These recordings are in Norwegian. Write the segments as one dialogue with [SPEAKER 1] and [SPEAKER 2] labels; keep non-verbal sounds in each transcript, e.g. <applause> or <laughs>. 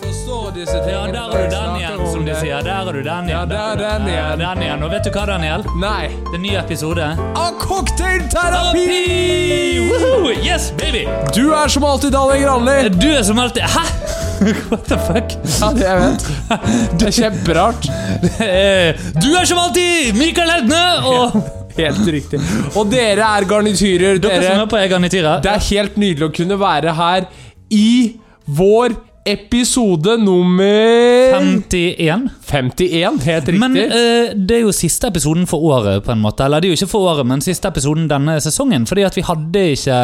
[SPEAKER 1] disse
[SPEAKER 2] Ja,
[SPEAKER 1] tingene
[SPEAKER 2] der er du
[SPEAKER 1] folk
[SPEAKER 2] den
[SPEAKER 1] snakker
[SPEAKER 2] igjen,
[SPEAKER 1] om
[SPEAKER 2] som de
[SPEAKER 1] det.
[SPEAKER 2] sier. Der er du den
[SPEAKER 1] Ja,
[SPEAKER 2] igjen.
[SPEAKER 1] der er den
[SPEAKER 2] Der er
[SPEAKER 1] igjen.
[SPEAKER 2] Den igjen. Og vet du hva, Daniel?
[SPEAKER 1] Nei.
[SPEAKER 2] Det er en ny episode.
[SPEAKER 1] Av cocktailterapi!
[SPEAKER 2] Terapi! Woohoo! Yes, baby!
[SPEAKER 1] Du er som alltid Daniel
[SPEAKER 2] <laughs>
[SPEAKER 1] Granli.
[SPEAKER 2] Du er som alltid Hæ? <laughs> What the fuck?
[SPEAKER 1] Ja, det jeg vet. Det er
[SPEAKER 2] <laughs>
[SPEAKER 1] kjemperart.
[SPEAKER 2] Eh, Du er som alltid Mikael Heltne! Og
[SPEAKER 1] Helt riktig. Og dere er garnityrer.
[SPEAKER 2] dere som er på Egan i Tyra.
[SPEAKER 1] Det er helt nydelig å kunne være her i vår episode nummer
[SPEAKER 2] 51.
[SPEAKER 1] 51, helt riktig.
[SPEAKER 2] Men eh, det er jo siste episoden for året, på en måte. Eller det er jo ikke for året, men siste episoden denne sesongen. Fordi at vi hadde ikke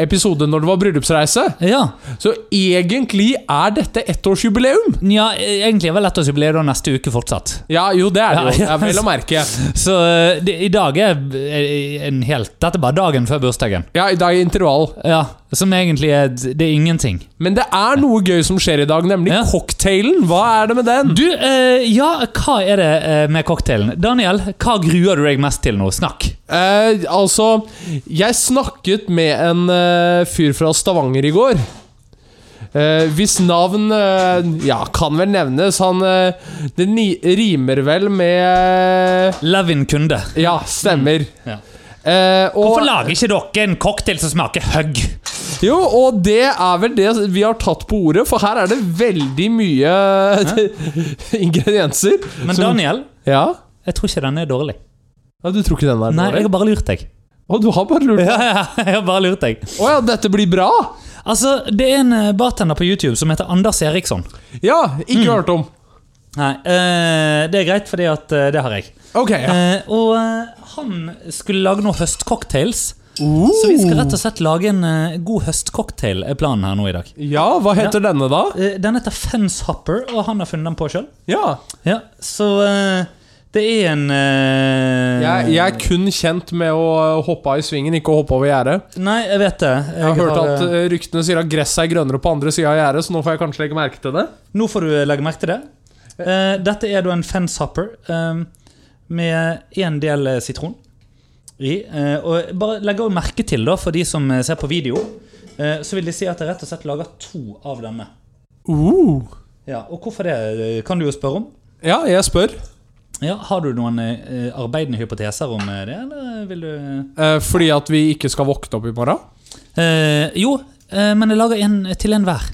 [SPEAKER 1] Episode når det var bryllupsreise.
[SPEAKER 2] Ja,
[SPEAKER 1] Så egentlig er dette ettårsjubileum.
[SPEAKER 2] ja eh, egentlig er vel ettårsjubileet da neste uke fortsatt.
[SPEAKER 1] Ja, jo, det er det jo. Det
[SPEAKER 2] Ja, <laughs> ja.
[SPEAKER 1] er vel å merke.
[SPEAKER 2] Så eh, det, i dag er eh, en helt Dette er bare dagen før bursdagen.
[SPEAKER 1] Ja, i dag er intervall.
[SPEAKER 2] Ja, Som egentlig er Det er ingenting.
[SPEAKER 1] Men det er noe gøy som skjer i dag, nemlig
[SPEAKER 2] Ja.
[SPEAKER 1] cocktailen. Hva er det med den?
[SPEAKER 2] Du, eh, ja, hva er det eh, med cocktailen? Daniel, hva gruer du deg mest til nå? Snakk.
[SPEAKER 1] Eh, altså, jeg snakket med en eh, fyr fra Stavanger i går. Eh, hvis navn eh, ja, kan vel nevnes. Han eh, Det ni rimer vel med eh,
[SPEAKER 2] Levin Kunde.
[SPEAKER 1] Mm, Ja, stemmer.
[SPEAKER 2] Ja.
[SPEAKER 1] Eh,
[SPEAKER 2] Hvorfor
[SPEAKER 1] og,
[SPEAKER 2] lager ikke dere en cocktail som smaker hugg?
[SPEAKER 1] jo, og det er vel det vi har tatt på ordet, for her er det veldig mye <laughs> ingredienser.
[SPEAKER 2] Men
[SPEAKER 1] som-
[SPEAKER 2] Daniel,
[SPEAKER 1] ja?
[SPEAKER 2] jeg tror ikke den er dårlig.
[SPEAKER 1] ja, Du tror ikke den er
[SPEAKER 2] Nei, jeg
[SPEAKER 1] dårlig?
[SPEAKER 2] har bare lurt deg. <laughs>
[SPEAKER 1] Å, du har bare lurt. Å
[SPEAKER 2] Ja, ja, jeg har bare lurt deg.
[SPEAKER 1] ja, dette blir bra?
[SPEAKER 2] Altså, det er en eh, bartender på YouTube som heter Anders Eriksson.
[SPEAKER 1] Ja, ikke
[SPEAKER 2] Mm.
[SPEAKER 1] hørt om.
[SPEAKER 2] Nei, eh, det er greit, fordi at eh, det har jeg.
[SPEAKER 1] Ok, ja.
[SPEAKER 2] Eh, og eh, han skulle lage noen høstcocktails. Så vi skal rett og slett lage en eh, god høstcocktail, er planen her nå i dag.
[SPEAKER 1] Ja, hva heter denne da?
[SPEAKER 2] Eh, den heter Fenshopper, og han har funnet den på sjøl.
[SPEAKER 1] Ja.
[SPEAKER 2] Ja, så eh, det er en eh,
[SPEAKER 1] Jeg, jeg er kun kjent med å hoppe av i svingen, ikke å hoppe over gjerdet.
[SPEAKER 2] Nei, jeg vet det. Jeg
[SPEAKER 1] Jeg har hørt at
[SPEAKER 2] har, eh,
[SPEAKER 1] eh, ryktene sier at gresset er grønnere på andre sida av gjerdet, så nå får jeg kanskje legge merke til det.
[SPEAKER 2] Nå får du legge merke til det. Eh, dette er da en fenshopper eh, med en del eh, sitron i. Eh, og bare legg også merke til, da, for de som eh, ser på video, eh, så vil de si at jeg rett og slett lager to av denne. Ja, Og hvorfor det, eh, kan du jo spørre om.
[SPEAKER 1] Uh. Ja, jeg spør.
[SPEAKER 2] Ja, Har du noen eh, arbeidende hypoteser om eh, det, eller vil du
[SPEAKER 1] Eh, fordi at vi ikke skal våkne opp i morgen?
[SPEAKER 2] Eh, Jo, eh, men jeg lager en til enhver.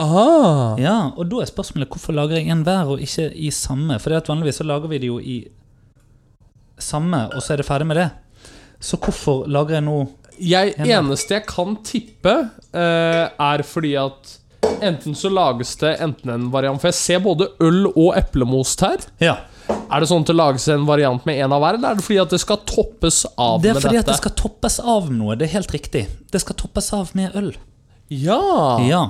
[SPEAKER 1] Aha.
[SPEAKER 2] Ja, og da er spørsmålet hvorfor lager jeg en hver og ikke i samme? For det at vanligvis så lager vi det jo i samme, og så er det ferdig med det. Så hvorfor lager jeg nå
[SPEAKER 1] Jeg,
[SPEAKER 2] Ja.
[SPEAKER 1] eneste jeg kan tippe, eh, er fordi at enten så lages det enten en variant For jeg ser både øl og eplemost her.
[SPEAKER 2] Ja,
[SPEAKER 1] Er det sånn at det lages en variant med en av hver, eller er det fordi at det skal toppes av
[SPEAKER 2] Det er
[SPEAKER 1] med
[SPEAKER 2] fordi at
[SPEAKER 1] dette?
[SPEAKER 2] det skal toppes av med noe. Det er helt riktig. Det skal toppes av med øl.
[SPEAKER 1] Ja.
[SPEAKER 2] Ja.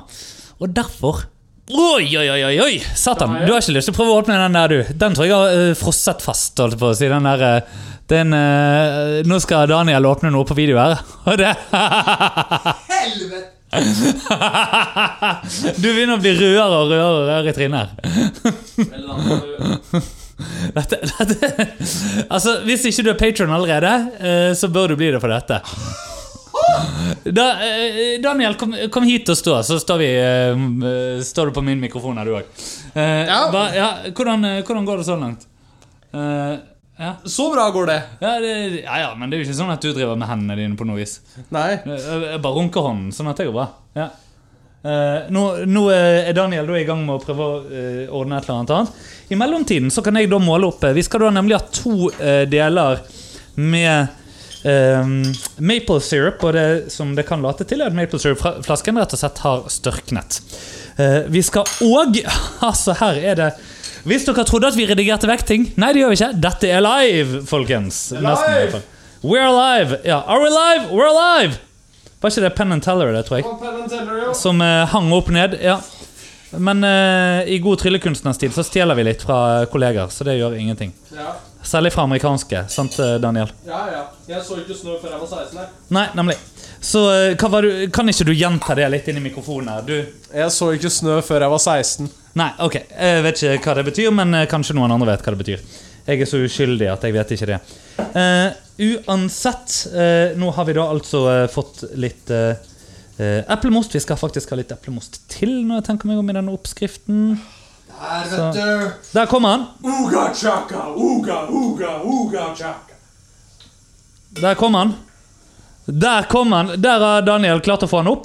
[SPEAKER 2] Og derfor Oi, oi, oi! oi, oi Satan, du har ikke lyst til å prøve å åpne den der, du. Den tror jeg har eh, frosset fast. holdt på å si den der, eh, den, eh, Nå skal Daniel åpne noe på video her. <laughs> Og det
[SPEAKER 3] Helvete!
[SPEAKER 2] <laughs> Du begynner å bli rødere og rødere og rødere i trynet. her. Dette, <laughs> dette. Altså, Hvis ikke du er patron allerede, eh, så bør du bli det for dette. Da, eh, Daniel, kom, kom hit og stå, så står, vi, eh, m- eh, står du på min mikrofon her, du òg.
[SPEAKER 1] Ja.
[SPEAKER 2] Ja, hvordan, eh, hvordan går det så langt? Eh, ja.
[SPEAKER 1] Så bra går det.
[SPEAKER 2] Ja, det, ja, ja, men det er jo ikke sånn at du driver med hendene dine på noe vis.
[SPEAKER 1] Nei.
[SPEAKER 2] Jeg, jeg bare runker hånden, sånn at det går bra. Ja. Eh, nå, nå er Daniel da i gang med å prøve å eh, ordne et eller annet annet. I mellomtiden så kan jeg da måle opp eh, Vi skal da nemlig ha to eh, deler med eh, maple syrup, og det som det kan late til, er at maple syrup-flasken rett og slett har størknet. Eh, vi skal òg <laughs> Altså, her er det Hvis dere trodde at vi redigerte vekk ting Nei, det gjør vi ikke. Dette er live, folkens. Nesten, i hvert fall. We're alive! Ja, are we alive? We're alive! Var ikke det Penn and Teller, det, tror jeg? Som eh, hang opp ned. Ja. Men eh, i god tryllekunstnerstil så stjeler vi litt fra kolleger, så det gjør ingenting.
[SPEAKER 1] Ja,
[SPEAKER 2] Særlig fra amerikanske, sant, eh, Daniel?
[SPEAKER 1] ja, ja. Jeg så ikke snø før jeg var 16 her.
[SPEAKER 2] Nei, nemlig. Så eh, hva var du, kan ikke du gjenta det litt inn i mikrofonen her? Du
[SPEAKER 1] Jeg så ikke snø før jeg var 16.
[SPEAKER 2] Nei, ok, jeg vet ikke hva det betyr, men eh, kanskje noen andre vet hva det betyr. Jeg er så uskyldig at jeg vet ikke det. Eh, uansett, eh, nå har vi da altså eh, fått litt eh, eh, eplemost. Vi skal faktisk ha litt eplemost til når jeg tenker meg om i denne oppskriften.
[SPEAKER 4] Her, vet du.
[SPEAKER 2] Der kommer han.
[SPEAKER 4] Uga chaka, uga, uga, uga chaka.
[SPEAKER 2] Der kom han. Der kom han. Der har Daniel klart å få han opp.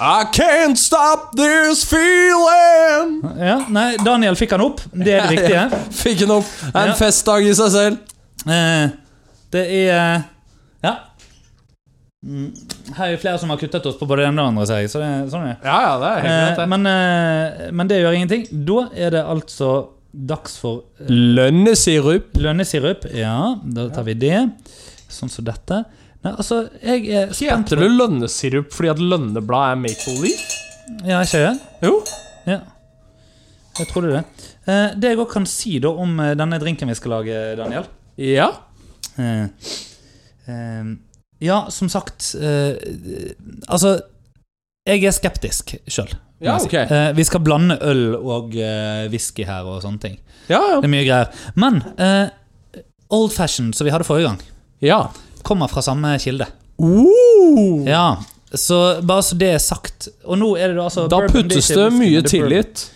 [SPEAKER 1] I can't stop this feeling!
[SPEAKER 2] Ja, Nei, Daniel fikk han opp.
[SPEAKER 1] <laughs>
[SPEAKER 2] Det er det riktige.
[SPEAKER 1] Fikk den opp. Det er
[SPEAKER 2] Ja.
[SPEAKER 1] en festdag i seg selv.
[SPEAKER 2] Eh, Det er Ja. Mm, Her er jo flere som har kuttet oss på både det ene og det andre, sier jeg. Så det, sånn er det.
[SPEAKER 1] Ja, ja, det er
[SPEAKER 2] Eh, Men, eh, men det gjør ingenting. Da er det altså dags for eh,
[SPEAKER 1] Lønnesirup.
[SPEAKER 2] lønnesirup. Ja, da tar vi det. Sånn som dette. Nei, altså, jeg er spent
[SPEAKER 1] Heter det lønnesirup fordi at lønneblad er maple leaf?
[SPEAKER 2] Ja, ikke jeg?
[SPEAKER 1] Jo.
[SPEAKER 2] Ja. Jeg trodde det. Eh, Det jeg òg kan si da om eh, denne drinken vi skal lage, Daniel
[SPEAKER 1] Ja.
[SPEAKER 2] Eh, eh, Ja, som sagt eh, Altså, jeg er skeptisk sjøl.
[SPEAKER 1] Ja, ok.
[SPEAKER 2] Eh, Vi skal blande øl og eh, whisky her og sånne ting.
[SPEAKER 1] Ja, ja.
[SPEAKER 2] Det er mye greier. Men eh, old fashioned som vi hadde forrige gang,
[SPEAKER 1] ja.
[SPEAKER 2] kommer fra samme kilde.
[SPEAKER 1] Uh,
[SPEAKER 2] Ja, så bare så det er sagt. Og nå er det da altså
[SPEAKER 1] da
[SPEAKER 2] bourbon, er
[SPEAKER 1] puttes
[SPEAKER 2] ikke
[SPEAKER 1] det
[SPEAKER 2] whisky, men
[SPEAKER 1] mye
[SPEAKER 2] er bourbon.
[SPEAKER 1] tillit.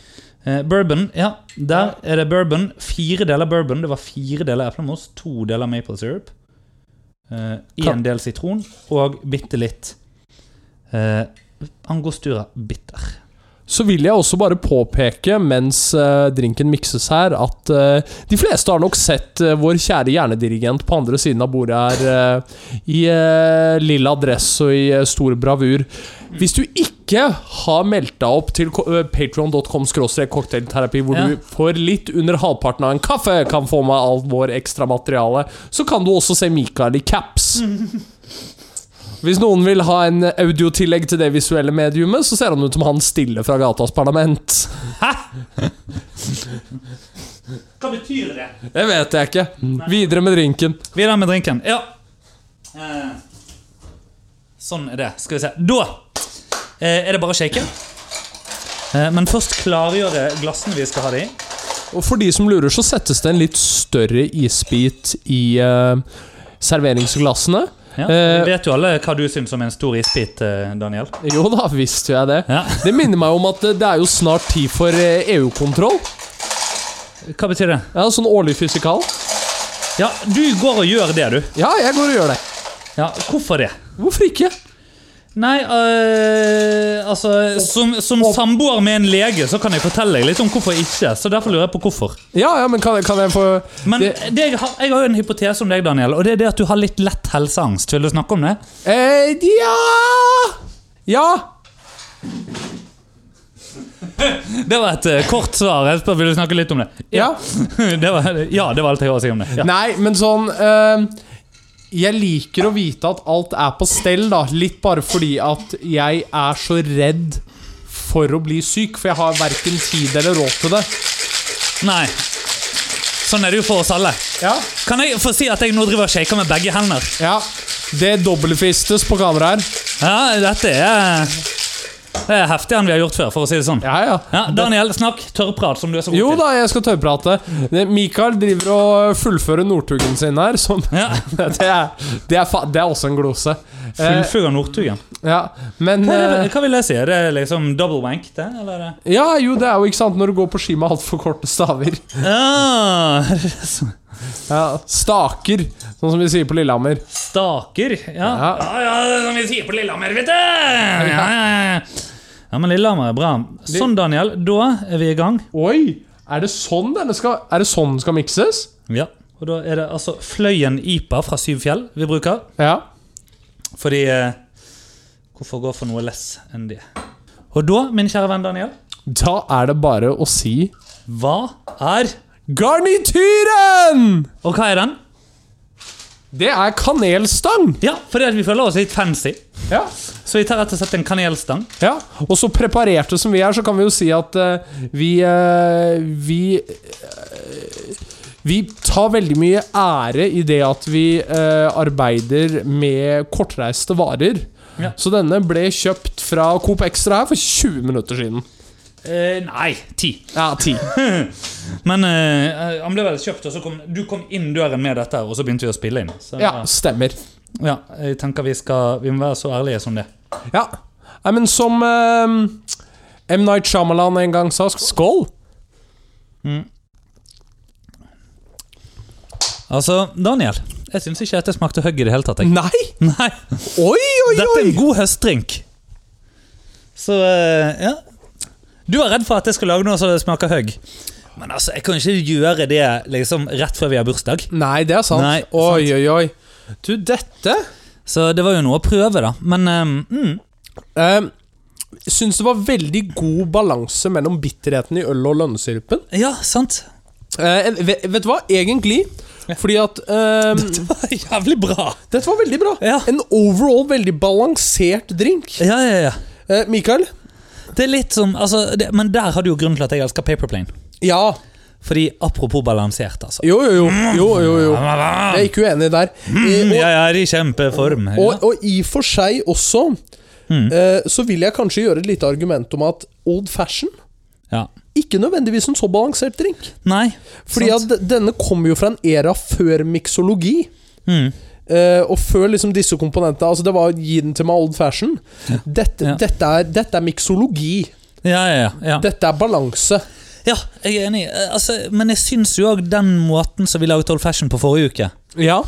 [SPEAKER 2] Eh, bourbon, ja. Der er det bourbon. Fire deler bourbon. Det var fire deler eplemos, to deler maple syrup. Én
[SPEAKER 1] Kan-
[SPEAKER 2] del sitron og bitte litt eh, angostura bitter.
[SPEAKER 1] Så vil jeg også bare påpeke mens eh, drinken mikses her, at eh, de fleste har nok sett eh, vår kjære hjernedirigent på andre siden av bordet her eh, i eh, lilla dress og i eh, stor bravur. Hvis du ikke har meldt deg opp til eh, patron.com cocktailterapi, hvor
[SPEAKER 2] Ja.
[SPEAKER 1] du for litt under halvparten av en kaffe kan få med alt vår ekstra materiale, så kan du også se Mikael i caps. Hvis noen vil ha en audiotillegg til det visuelle mediumet, så ser han ut som han stille fra gatas parlament.
[SPEAKER 2] Hva betyr det?
[SPEAKER 1] Det vet jeg ikke. Videre med drinken.
[SPEAKER 2] Videre med drinken. Ja. Eh, Sånn er det. Skal vi se. Da eh, er det bare å shake. Eh, Men først klargjøre glassene vi skal ha det i.
[SPEAKER 1] Og for de som lurer, så settes det en litt større isbit i eh, serveringsglassene.
[SPEAKER 2] Ja.
[SPEAKER 1] Eh,
[SPEAKER 2] vi vet jo alle hva du syns om en stor isbit, eh, Daniel.
[SPEAKER 1] Jo da, visste jeg det.
[SPEAKER 2] Ja.
[SPEAKER 1] Det minner meg om at det er jo snart tid for eh, EU-kontroll.
[SPEAKER 2] Hva betyr det?
[SPEAKER 1] Ja, Sånn årlig fysikal.
[SPEAKER 2] Ja, du går og gjør det, du.
[SPEAKER 1] Ja, jeg går og gjør det.
[SPEAKER 2] Ja, Hvorfor det?
[SPEAKER 1] Hvorfor ikke?
[SPEAKER 2] Nei, eh, altså Som, som samboer med en lege så kan jeg fortelle deg litt om hvorfor ikke. Så derfor lurer jeg på hvorfor.
[SPEAKER 1] Ja, ja, men kan, kan jeg få
[SPEAKER 2] Men
[SPEAKER 1] det,
[SPEAKER 2] det, jeg, har, jeg har jo en hypotese om deg, Daniel, og det er det at du har litt lett helseangst. Vil du snakke om det?
[SPEAKER 1] eh, Ja! Ja!
[SPEAKER 2] Det var et eh, kort svar. Jeg spør, vil du snakke litt om det?
[SPEAKER 1] Ja.
[SPEAKER 2] <laughs> det var, ja, det var alt jeg har å si om det. Ja.
[SPEAKER 1] <laughs> Nei, men sånn eh, Jeg liker å vite at alt er på stell, da. Litt bare fordi at jeg er så redd for å bli syk, for jeg har verken tid eller råd til det.
[SPEAKER 2] Nei. Sånn er det jo for oss alle.
[SPEAKER 1] Ja,
[SPEAKER 2] Kan jeg få si at jeg nå driver og shaker med begge hender?
[SPEAKER 1] ja Det dobbeltfistes på kamera her.
[SPEAKER 2] Ja, dette er Det er heftigere enn vi har gjort før, for å si det sånn.
[SPEAKER 1] Ja, ja.
[SPEAKER 2] Ja, Daniel, snakk tørrprat som du er så god
[SPEAKER 1] Jo
[SPEAKER 2] til.
[SPEAKER 1] da, jeg skal tørrprate. Det- Mikael driver og fullfører Northugen sin her. Som,
[SPEAKER 2] Ja.
[SPEAKER 1] <laughs> det, er, det, er fa det er også en glose. Eh,
[SPEAKER 2] Fullfugger Northugen.
[SPEAKER 1] ja, men
[SPEAKER 2] Hva, er det-
[SPEAKER 1] eh,
[SPEAKER 2] hva vil jeg si? Er det liksom double wank, det? Eller er det
[SPEAKER 1] Ja, jo, det er jo ikke sant når du går på ski med altfor korte staver.
[SPEAKER 2] ah, <laughs>
[SPEAKER 1] Ja, staker, sånn som vi sier på Lillehammer.
[SPEAKER 2] Staker? Ja.
[SPEAKER 1] Ja.
[SPEAKER 2] ja, ja, som vi sier på Lillehammer, vet du! Ja, ja, ja. ja, men Lillehammer er bra. Sånn, Daniel. Da er vi i gang.
[SPEAKER 1] Oi! Er det sånn denne skal, er det sånn den skal mikses?
[SPEAKER 2] Ja. Og da er det altså Fløyen IPA fra Syvfjell vi bruker.
[SPEAKER 1] Ja.
[SPEAKER 2] Fordi eh, Hvorfor gå for noe less enn det? Og da, min kjære venn Daniel,
[SPEAKER 1] Da er det bare å si
[SPEAKER 2] hva er
[SPEAKER 1] Garnityren!
[SPEAKER 2] Og hva er den?
[SPEAKER 1] Det er kanelstang.
[SPEAKER 2] Ja, fordi at vi føler oss litt fancy.
[SPEAKER 1] Ja.
[SPEAKER 2] Så vi tar rett og slett en kanelstang.
[SPEAKER 1] ja. Og så preparerte som vi er, så kan vi jo si at eh, vi eh, Vi eh, vi tar veldig mye ære i det at vi eh, arbeider med kortreiste varer.
[SPEAKER 2] Ja.
[SPEAKER 1] Så denne ble kjøpt fra Coop Extra her for 20 minutter siden.
[SPEAKER 2] Eh, nei, ti.
[SPEAKER 1] Ja, 10.
[SPEAKER 2] Men eh, han ble vel kjøpt, og så kom du kom inn døren med dette, her, og så begynte vi å spille inn. Så, eh,
[SPEAKER 1] Ja, stemmer.
[SPEAKER 2] ja, jeg tenker vi skal Vi må være så ærlige som det.
[SPEAKER 1] Ja. Nei, men som eh, M. Night Shyamalan en gang sa skål.
[SPEAKER 2] Altså, Daniel, jeg syns ikke dette smakte hugg i det hele tatt. Jeg.
[SPEAKER 1] Nei!
[SPEAKER 2] <laughs> Nei,
[SPEAKER 1] Oi, oi,
[SPEAKER 2] Dette er
[SPEAKER 1] oi!
[SPEAKER 2] en god høstdrink. Så eh, ja. Du var redd for at jeg skulle lage noe som smaker hugg. Men altså, jeg kan ikke gjøre det liksom rett før vi har bursdag.
[SPEAKER 1] Nei, det er sant.
[SPEAKER 2] Nei,
[SPEAKER 1] oi, oi, oi. Du, dette
[SPEAKER 2] Så det var jo noe å prøve, da. Men eh, mm,
[SPEAKER 1] um, Syns det var veldig god balanse mellom bitterheten i øl og lønnsirupen.
[SPEAKER 2] ja, sant.
[SPEAKER 1] Eh, vet, vet du hva? Egentlig fordi at ehm,
[SPEAKER 2] Det var jævlig bra.
[SPEAKER 1] Dette var veldig bra.
[SPEAKER 2] Ja.
[SPEAKER 1] En overall veldig balansert drink.
[SPEAKER 2] Ja, ja, ja.
[SPEAKER 1] Eh, Mikael?
[SPEAKER 2] Det er litt som, altså, det, Men der har du jo grunnen til at jeg elsker Paperplane.
[SPEAKER 1] Ja.
[SPEAKER 2] Fordi apropos balansert, altså.
[SPEAKER 1] Jo, jo, jo. jo, jo, jo. Jeg er ikke uenig der. Eh,
[SPEAKER 2] Mm,
[SPEAKER 1] og,
[SPEAKER 2] ja, ja, de er i kjempeform. Ja. Mm.
[SPEAKER 1] og, og i og for seg også eh, så vil jeg kanskje gjøre et lite argument om at old fashion
[SPEAKER 2] Ja.
[SPEAKER 1] ikke nødvendigvis en så balansert drink.
[SPEAKER 2] Nei.
[SPEAKER 1] Fordi
[SPEAKER 2] sant.
[SPEAKER 1] at d- denne kommer jo fra en era før miksologi.
[SPEAKER 2] Mm.
[SPEAKER 1] Eh, og før liksom disse komponentene Altså Det var 'gi den til meg old fashion'. Dette,
[SPEAKER 2] Ja.
[SPEAKER 1] dette er, dette er miksologi.
[SPEAKER 2] Ja, ja, ja, ja.
[SPEAKER 1] Dette er balanse.
[SPEAKER 2] Ja, jeg er enig. Eh, Altså, men jeg syns jo òg den måten som vi laget Old Fashion på forrige uke,
[SPEAKER 1] Ja.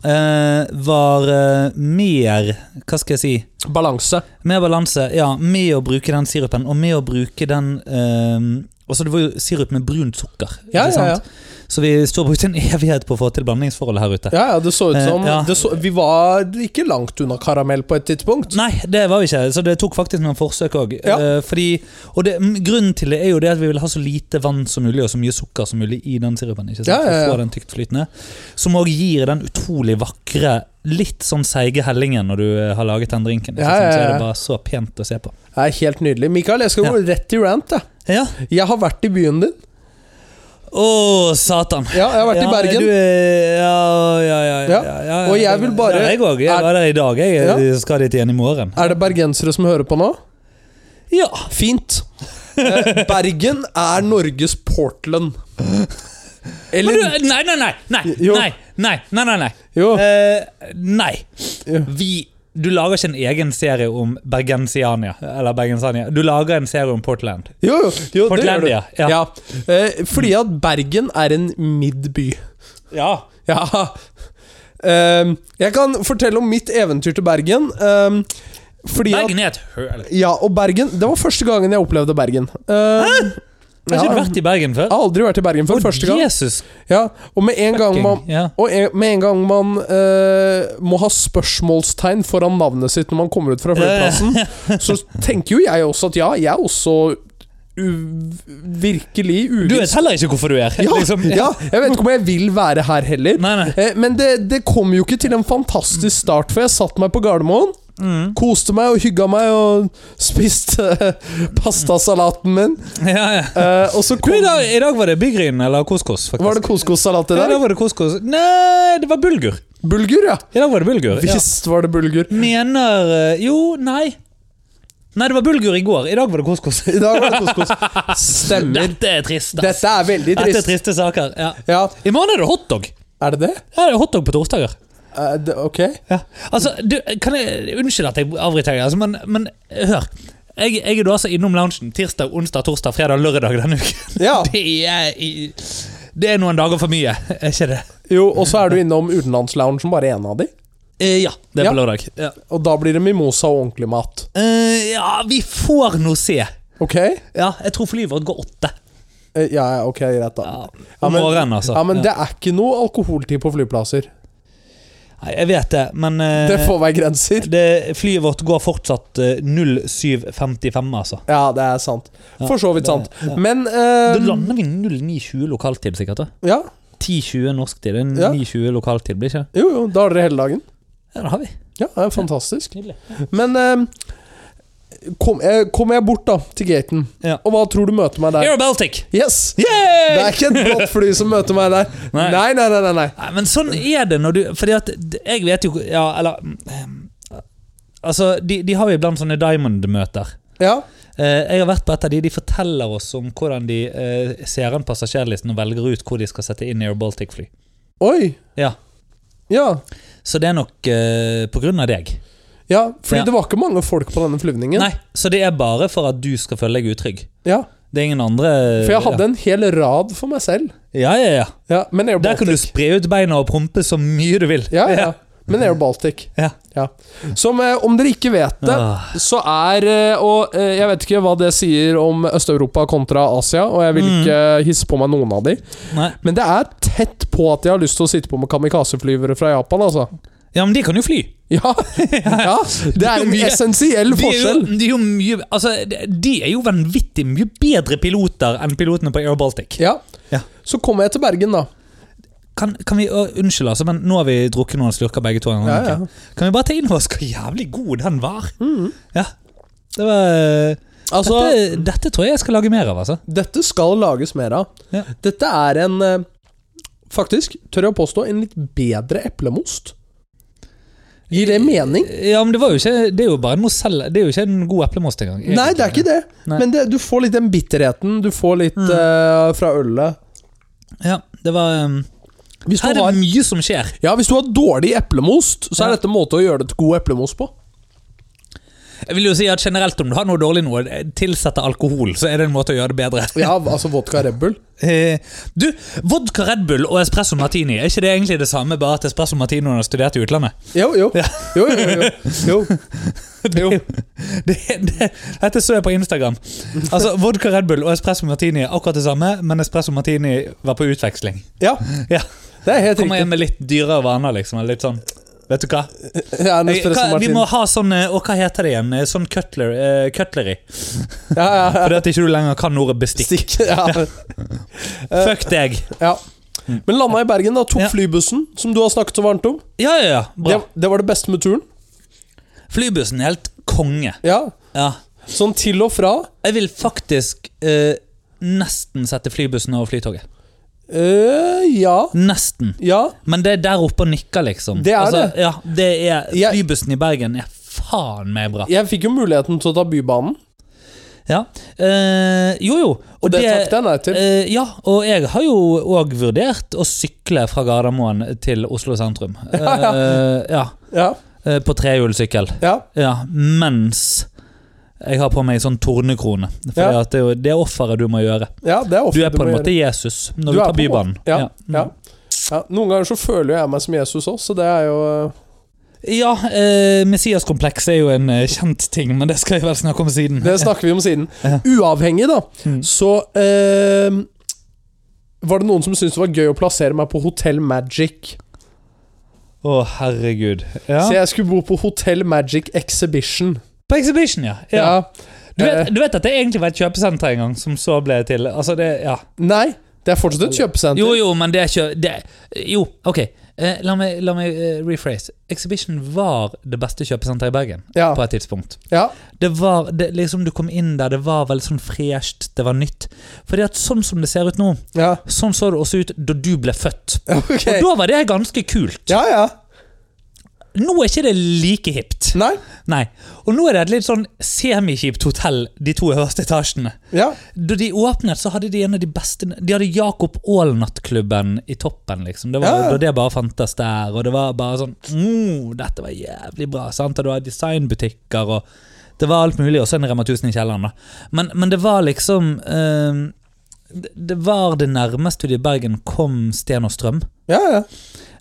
[SPEAKER 2] eh, var eh, mer Hva skal jeg si?
[SPEAKER 1] Balanse.
[SPEAKER 2] Mer balanse, ja. Med å bruke den sirupen, og med å bruke den eh, Altså, det var jo sirup med brunt sukker.
[SPEAKER 1] Ja,
[SPEAKER 2] ikke
[SPEAKER 1] ja, ja.
[SPEAKER 2] sant? Så vi står og brukte en <laughs> evighet på å få til blandingsforholdet her ute.
[SPEAKER 1] Ja, ja, det så ut
[SPEAKER 2] Eh,
[SPEAKER 1] som
[SPEAKER 2] ja.
[SPEAKER 1] det så, Vi var ikke langt unna karamell på et tidspunkt.
[SPEAKER 2] Nei, det var vi ikke. Så det tok faktisk noen forsøk òg.
[SPEAKER 1] Ja.
[SPEAKER 2] og det, m- grunnen til det er jo det at vi vil ha så lite vann som mulig og så mye sukker som mulig i den sirupen. ikke sant?
[SPEAKER 1] Ja, ja, ja.
[SPEAKER 2] For å få den tykt flytende. Som òg gir den utrolig vakre, litt sånn seige hellingen når du eh, har laget den drinken. Ikke
[SPEAKER 1] Ja,
[SPEAKER 2] sant? Så
[SPEAKER 1] ja,
[SPEAKER 2] er
[SPEAKER 1] ja.
[SPEAKER 2] det bare så pent å se på.
[SPEAKER 1] Det er helt nydelig. Mikael, jeg skal gå rett i rant. Jeg.
[SPEAKER 2] Ja.
[SPEAKER 1] jeg har vært i byen din.
[SPEAKER 2] Å, satan.
[SPEAKER 1] Ja, jeg har vært i Bergen.
[SPEAKER 2] Du, er- ja, ja, ja, ja,
[SPEAKER 1] Ja,
[SPEAKER 2] ja, ja,
[SPEAKER 1] og jeg vil bare-
[SPEAKER 2] ja, Jeg òg.
[SPEAKER 1] Er-
[SPEAKER 2] Jeg var der i dag. Jeg
[SPEAKER 1] Ja.
[SPEAKER 2] skal dit igjen i morgen.
[SPEAKER 1] Er det bergensere som hører på nå?
[SPEAKER 2] Ja.
[SPEAKER 1] Fint. Eh, Bergen er Norges Portland.
[SPEAKER 2] Men
[SPEAKER 1] Eller
[SPEAKER 2] du, nei, nei, nei! Nei,
[SPEAKER 1] Jo.
[SPEAKER 2] nei, nei, nei, nei, nei.
[SPEAKER 1] Jo.
[SPEAKER 2] Eh, nei.
[SPEAKER 1] Jo.
[SPEAKER 2] Vi, du lager ikke en egen serie om Bergensiania. Eller Bergensania. Du lager en serie om Portland.
[SPEAKER 1] Jo, jo, jo det gjør du.
[SPEAKER 2] Portlandia, ja.
[SPEAKER 1] Eh, fordi at Bergen er en midby.
[SPEAKER 2] Ja.
[SPEAKER 1] Ja. Ehm, jeg kan fortelle om mitt eventyr til Bergen. ehm, fordi at
[SPEAKER 2] Bergen er et høl.
[SPEAKER 1] Ja, og Bergen Det var første gangen jeg opplevde Bergen. Eh,
[SPEAKER 2] Har ikke
[SPEAKER 1] Ja.
[SPEAKER 2] du vært i Bergen før?
[SPEAKER 1] Jeg har aldri vært i Bergen før. første gang.
[SPEAKER 2] Jesus.
[SPEAKER 1] Ja, og med en gang man,
[SPEAKER 2] fucking, ja.
[SPEAKER 1] og en, med en gang man eh, må ha spørsmålstegn foran navnet sitt når man kommer ut fra flyplassen,
[SPEAKER 2] <laughs>
[SPEAKER 1] så tenker jo jeg også at ja, jeg er også u virkelig
[SPEAKER 2] Du
[SPEAKER 1] uviss.
[SPEAKER 2] vet heller ikke hvorfor du er her.
[SPEAKER 1] Ja,
[SPEAKER 2] liksom.
[SPEAKER 1] ja, jeg vet ikke om jeg vil være her heller.
[SPEAKER 2] Nei, nei. Mm.
[SPEAKER 1] Eh, Men det, det kom jo ikke til en fantastisk start, for jeg satt meg på Gardermoen. Koste meg og hygga meg og spiste <laughs> eh, pastasalaten min.
[SPEAKER 2] Ja, ja.
[SPEAKER 1] Eh, og så
[SPEAKER 2] Du,
[SPEAKER 1] kom,
[SPEAKER 2] i, dag, I dag var det Byggryn eller couscous. faktisk.
[SPEAKER 1] var det couscous-salat i
[SPEAKER 2] Ja, I
[SPEAKER 1] dag.
[SPEAKER 2] dag var det couscous. Nei, det var bulgur.
[SPEAKER 1] Bulgur, ja.
[SPEAKER 2] I dag var det bulgur. Ja.
[SPEAKER 1] Visst var det bulgur.
[SPEAKER 2] Mener eh, Jo, nei. Nei, det var bulgur i går. I dag var det <laughs> couscous.
[SPEAKER 1] <laughs> I dag var det couscous. Stemmer.
[SPEAKER 2] Dette er trist. ass.
[SPEAKER 1] <laughs> Dette er veldig
[SPEAKER 2] Dette er
[SPEAKER 1] trist.
[SPEAKER 2] triste saker. Ja.
[SPEAKER 1] Ja,
[SPEAKER 2] I morgen er det hotdog.
[SPEAKER 1] er det det?
[SPEAKER 2] Ja, det er hotdog på torsdager.
[SPEAKER 1] Eh, det ok.
[SPEAKER 2] Altså, du, kan jeg, Unnskyld at jeg avbryter, deg, altså, men, men hør. Jeg, jeg er da altså innom loungen tirsdag, onsdag, torsdag, fredag, lørdag denne uken.
[SPEAKER 1] <laughs> Ja.
[SPEAKER 2] <laughs> Det er, i- det er noen dager for mye, er ikke det?
[SPEAKER 1] Jo, og så er du innom utenlandsloungen som bare én av de.
[SPEAKER 2] Eh, ja, det er
[SPEAKER 1] Ja.
[SPEAKER 2] på lørdag. Ja.
[SPEAKER 1] Og da blir det mimosa og ordentlig mat.
[SPEAKER 2] Eh, ja, vi får nå se.
[SPEAKER 1] Ok?
[SPEAKER 2] Ja, jeg tror flyet vårt går åtte.
[SPEAKER 1] Eh, ja, ja, ok, greit, da.
[SPEAKER 2] Ja, om
[SPEAKER 1] Ja, men-
[SPEAKER 2] morgenen, altså.
[SPEAKER 1] Ja, men det er ikke noe alkoholtid på flyplasser.
[SPEAKER 2] Nei, jeg vet det, men eh,
[SPEAKER 1] Det får være grenser.
[SPEAKER 2] det, flyet vårt går fortsatt eh, 07.55, altså.
[SPEAKER 1] Ja, det er sant. For så vidt sant. Men eh,
[SPEAKER 2] Da lander vi 09.20 lokaltid, sikkert. da
[SPEAKER 1] Ja.
[SPEAKER 2] 10.20 norsk tid. Det er
[SPEAKER 1] Ja.
[SPEAKER 2] 9.20 lokaltid, blir ikke det?
[SPEAKER 1] Jo, jo, da har dere hele dagen.
[SPEAKER 2] Ja, det har vi.
[SPEAKER 1] Ja, det er fantastisk.
[SPEAKER 2] Nydelig.
[SPEAKER 1] Men eh, kom, eh, kommer jeg bort, da, til gaten,
[SPEAKER 2] Ja.
[SPEAKER 1] og hva tror du møter meg der?
[SPEAKER 2] Air Baltic!
[SPEAKER 1] Yes! Det
[SPEAKER 2] Yay!
[SPEAKER 1] er ikke et blått fly som møter meg der. Nei,
[SPEAKER 2] Nei.
[SPEAKER 1] nei, nei. nei, nei.
[SPEAKER 2] Nei, men sånn er det når du Fordi at d- jeg vet jo Ja, eller mm, Altså, de, de har jo iblant sånne Diamond-møter.
[SPEAKER 1] Ja,
[SPEAKER 2] Eh, jeg har vært på et av de. De forteller oss om hvordan de eh, ser an passasjerlisten og velger ut hvor de skal sette inn Air Baltic-fly.
[SPEAKER 1] Oi.
[SPEAKER 2] Ja,
[SPEAKER 1] Ja.
[SPEAKER 2] Så det er nok eh, på grunn av deg.
[SPEAKER 1] Ja, fordi
[SPEAKER 2] Ja.
[SPEAKER 1] det var ikke mange folk på denne flyvningen.
[SPEAKER 2] Nei, så det er bare for at du skal føle deg utrygg.
[SPEAKER 1] Ja,
[SPEAKER 2] Det er ingen andre
[SPEAKER 1] for jeg hadde en hel rad for meg selv.
[SPEAKER 2] Ja, ja, ja.
[SPEAKER 1] Ja, men Air
[SPEAKER 2] Der kan du
[SPEAKER 1] Baltic.
[SPEAKER 2] spre ut beina og prompe så mye du vil.
[SPEAKER 1] Ja, ja. Men Air Baltic.
[SPEAKER 2] Ja.
[SPEAKER 1] Ja. Som eh, om dere ikke vet det,
[SPEAKER 2] Ah.
[SPEAKER 1] så er eh, Og eh, jeg vet ikke hva det sier om Øst-Europa kontra Asia, og jeg vil
[SPEAKER 2] Mm.
[SPEAKER 1] ikke hisse på meg noen av de.
[SPEAKER 2] Nei.
[SPEAKER 1] Men det er tett på at jeg har lyst til å sitte på med kamikazeflyvere fra Japan, altså.
[SPEAKER 2] Ja, men de kan jo fly. <laughs>
[SPEAKER 1] Ja, ja det er en
[SPEAKER 2] mye-
[SPEAKER 1] essensiell
[SPEAKER 2] De er jo,
[SPEAKER 1] forskjell.
[SPEAKER 2] de er jo mye Altså, de er jo vanvittig mye bedre piloter enn pilotene på Air Baltic.
[SPEAKER 1] Ja.
[SPEAKER 2] Ja.
[SPEAKER 1] Så kommer jeg til Bergen, da.
[SPEAKER 2] Kan, kan vi, å, Unnskyld, altså, men nå har vi drukket noen slurker begge to. en gang,
[SPEAKER 1] Ja, ja. Mm.
[SPEAKER 2] ikke? Kan vi bare ta inn over oss hvor jævlig god den var? Ja. Det var eh,
[SPEAKER 1] Altså,
[SPEAKER 2] dette, dette tror jeg jeg skal lage mer av, altså.
[SPEAKER 1] Dette skal lages mer av.
[SPEAKER 2] Ja.
[SPEAKER 1] Dette er en eh, Faktisk, tør jeg å påstå, en litt bedre eplemost. Gir det mening?
[SPEAKER 2] Ja, men det, var jo ikke, det er jo bare en moselle. Det er jo ikke en god eplemost engang.
[SPEAKER 1] Nei, det er ikke det.
[SPEAKER 2] Nei. Mm.
[SPEAKER 1] Men det, du får litt den bitterheten. Du får litt eh, fra ølet.
[SPEAKER 2] Ja, det var um,
[SPEAKER 1] Hvis
[SPEAKER 2] Her
[SPEAKER 1] du,
[SPEAKER 2] er
[SPEAKER 1] har,
[SPEAKER 2] det mye som skjer.
[SPEAKER 1] ja, hvis du har dårlig eplemost, så er
[SPEAKER 2] Ja.
[SPEAKER 1] dette en måte å gjøre det til god eplemost på.
[SPEAKER 2] Jeg vil jo si at generelt Om du har noe dårlig noe, tilsette alkohol, så er det en måte å gjøre det bedre.
[SPEAKER 1] Ja, altså vodka Red Bull.
[SPEAKER 2] Eh, Du, vodka Red Bull og espresso martini, er ikke det egentlig det samme, bare at espresso martini har studert i utlandet?
[SPEAKER 1] Jo, jo.
[SPEAKER 2] Ja.
[SPEAKER 1] Jo, jo, jo. jo.
[SPEAKER 2] Jo. <laughs> Det, det, dette så jeg på Instagram. Altså, Vodka Red Bull og espresso martini er akkurat det samme, men espresso martini var på utveksling.
[SPEAKER 1] Ja,
[SPEAKER 2] Ja,
[SPEAKER 1] det er helt
[SPEAKER 2] Kommer jeg
[SPEAKER 1] riktig.
[SPEAKER 2] med litt dyrere vaner, liksom. eller Litt sånn, vet du hva?
[SPEAKER 1] Ja, en
[SPEAKER 2] Jeg,
[SPEAKER 1] espresso
[SPEAKER 2] hva vi
[SPEAKER 1] martini.
[SPEAKER 2] må ha sånn eh, Og hva heter det igjen? Eh, Sånn cutler, eh, cutlery.
[SPEAKER 1] Ja, ja,
[SPEAKER 2] Fordi at ikke du lenger kan ordet
[SPEAKER 1] ja.
[SPEAKER 2] bestikk.
[SPEAKER 1] Stikk.
[SPEAKER 2] Eh.
[SPEAKER 1] Ja.
[SPEAKER 2] Fuck deg.
[SPEAKER 1] Ja. Men landa i Bergen, da. Tok
[SPEAKER 2] Mm. Ja.
[SPEAKER 1] flybussen, som du har snakket så varmt om.
[SPEAKER 2] Ja, ja, ja. Bra.
[SPEAKER 1] Det, det var det beste med turen.
[SPEAKER 2] Flybussen er helt konge.
[SPEAKER 1] Ja.
[SPEAKER 2] Ja.
[SPEAKER 1] Sånn til og fra.
[SPEAKER 2] Jeg vil faktisk eh, nesten sette flybussen over Flytoget.
[SPEAKER 1] Eh, ja.
[SPEAKER 2] Nesten.
[SPEAKER 1] Ja.
[SPEAKER 2] Men det er der oppe og nikker, liksom.
[SPEAKER 1] Det er det.
[SPEAKER 2] Ja, det er,
[SPEAKER 1] Jeg-
[SPEAKER 2] flybussen i Bergen er faen meg bra.
[SPEAKER 1] Jeg fikk jo muligheten til å ta Bybanen,
[SPEAKER 2] Ja. Eh, jo, jo. Og,
[SPEAKER 1] og det, takket jeg nei til.
[SPEAKER 2] Eh, ja, og jeg har jo òg vurdert å sykle fra Gardermoen til Oslo sentrum.
[SPEAKER 1] <laughs> Ja, ja.
[SPEAKER 2] Eh, ja.
[SPEAKER 1] Ja.
[SPEAKER 2] Eh, på trehjulssykkel.
[SPEAKER 1] ja.
[SPEAKER 2] Ja, mens jeg har på meg en sånn tornekrone. For
[SPEAKER 1] Ja.
[SPEAKER 2] det er jo det offeret du må gjøre.
[SPEAKER 1] Ja, det er ofte
[SPEAKER 2] Du er på en
[SPEAKER 1] må
[SPEAKER 2] måte
[SPEAKER 1] gjøre.
[SPEAKER 2] Jesus når
[SPEAKER 1] Du
[SPEAKER 2] du,
[SPEAKER 1] er
[SPEAKER 2] tar
[SPEAKER 1] på en
[SPEAKER 2] Bybanen.
[SPEAKER 1] Ja,
[SPEAKER 2] Ja.
[SPEAKER 1] ja. ja. Noen ganger så føler jo jeg meg som Jesus òg, så det er jo eh,
[SPEAKER 2] Ja, eh, Messiaskompleks er jo en eh, kjent ting, men det skal jeg vel snakke om siden.
[SPEAKER 1] Det snakker vi om siden.
[SPEAKER 2] Ja.
[SPEAKER 1] Uavhengig, da,
[SPEAKER 2] Mm.
[SPEAKER 1] så eh, var det noen som syntes det var gøy å plassere meg på Hotell Magic.
[SPEAKER 2] Å, herregud. Ja.
[SPEAKER 1] Så jeg skulle bo på Hotell Magic Exhibition.
[SPEAKER 2] På Exhibition, ja. ja.
[SPEAKER 1] Ja.
[SPEAKER 2] Du,
[SPEAKER 1] Eh,
[SPEAKER 2] vet, du vet at det egentlig var et kjøpesenter en gang, som så ble til Altså, det Ja.
[SPEAKER 1] Nei, det er fortsatt et kjøpesenter.
[SPEAKER 2] Jo, jo, men det er ikke det, Jo, ok. Eh, la meg, la meg eh, rephrase. Exhibition var det beste kjøpesenteret i Bergen
[SPEAKER 1] Ja,
[SPEAKER 2] på et tidspunkt.
[SPEAKER 1] ja,
[SPEAKER 2] Det var, det, liksom Du kom inn der, det var veldig sånn fresht, det var nytt. Fordi at sånn som det ser ut nå,
[SPEAKER 1] ja.
[SPEAKER 2] sånn så det også ut da du ble født.
[SPEAKER 1] Ok.
[SPEAKER 2] <laughs> Og da var det ganske kult.
[SPEAKER 1] Ja, ja.
[SPEAKER 2] Nå er ikke det like hipt.
[SPEAKER 1] Nei.
[SPEAKER 2] Nei. Og nå er det et litt sånn semikjipt hotell, de to øverste etasjene.
[SPEAKER 1] Ja.
[SPEAKER 2] Da de åpnet, så hadde de en av de beste De hadde Jakob Aalnatt-klubben i toppen, liksom. Det var
[SPEAKER 1] Ja, ja.
[SPEAKER 2] da det bare fantes der, og det var bare sånn mm, Dette var jævlig bra, sant? Og det var designbutikker og Det var alt mulig, og så en Rema 1000 i kjelleren, da. Men, men det var liksom eh, det, det var det nærmeste du i Bergen kom Sten og Strøm.
[SPEAKER 1] ja, ja.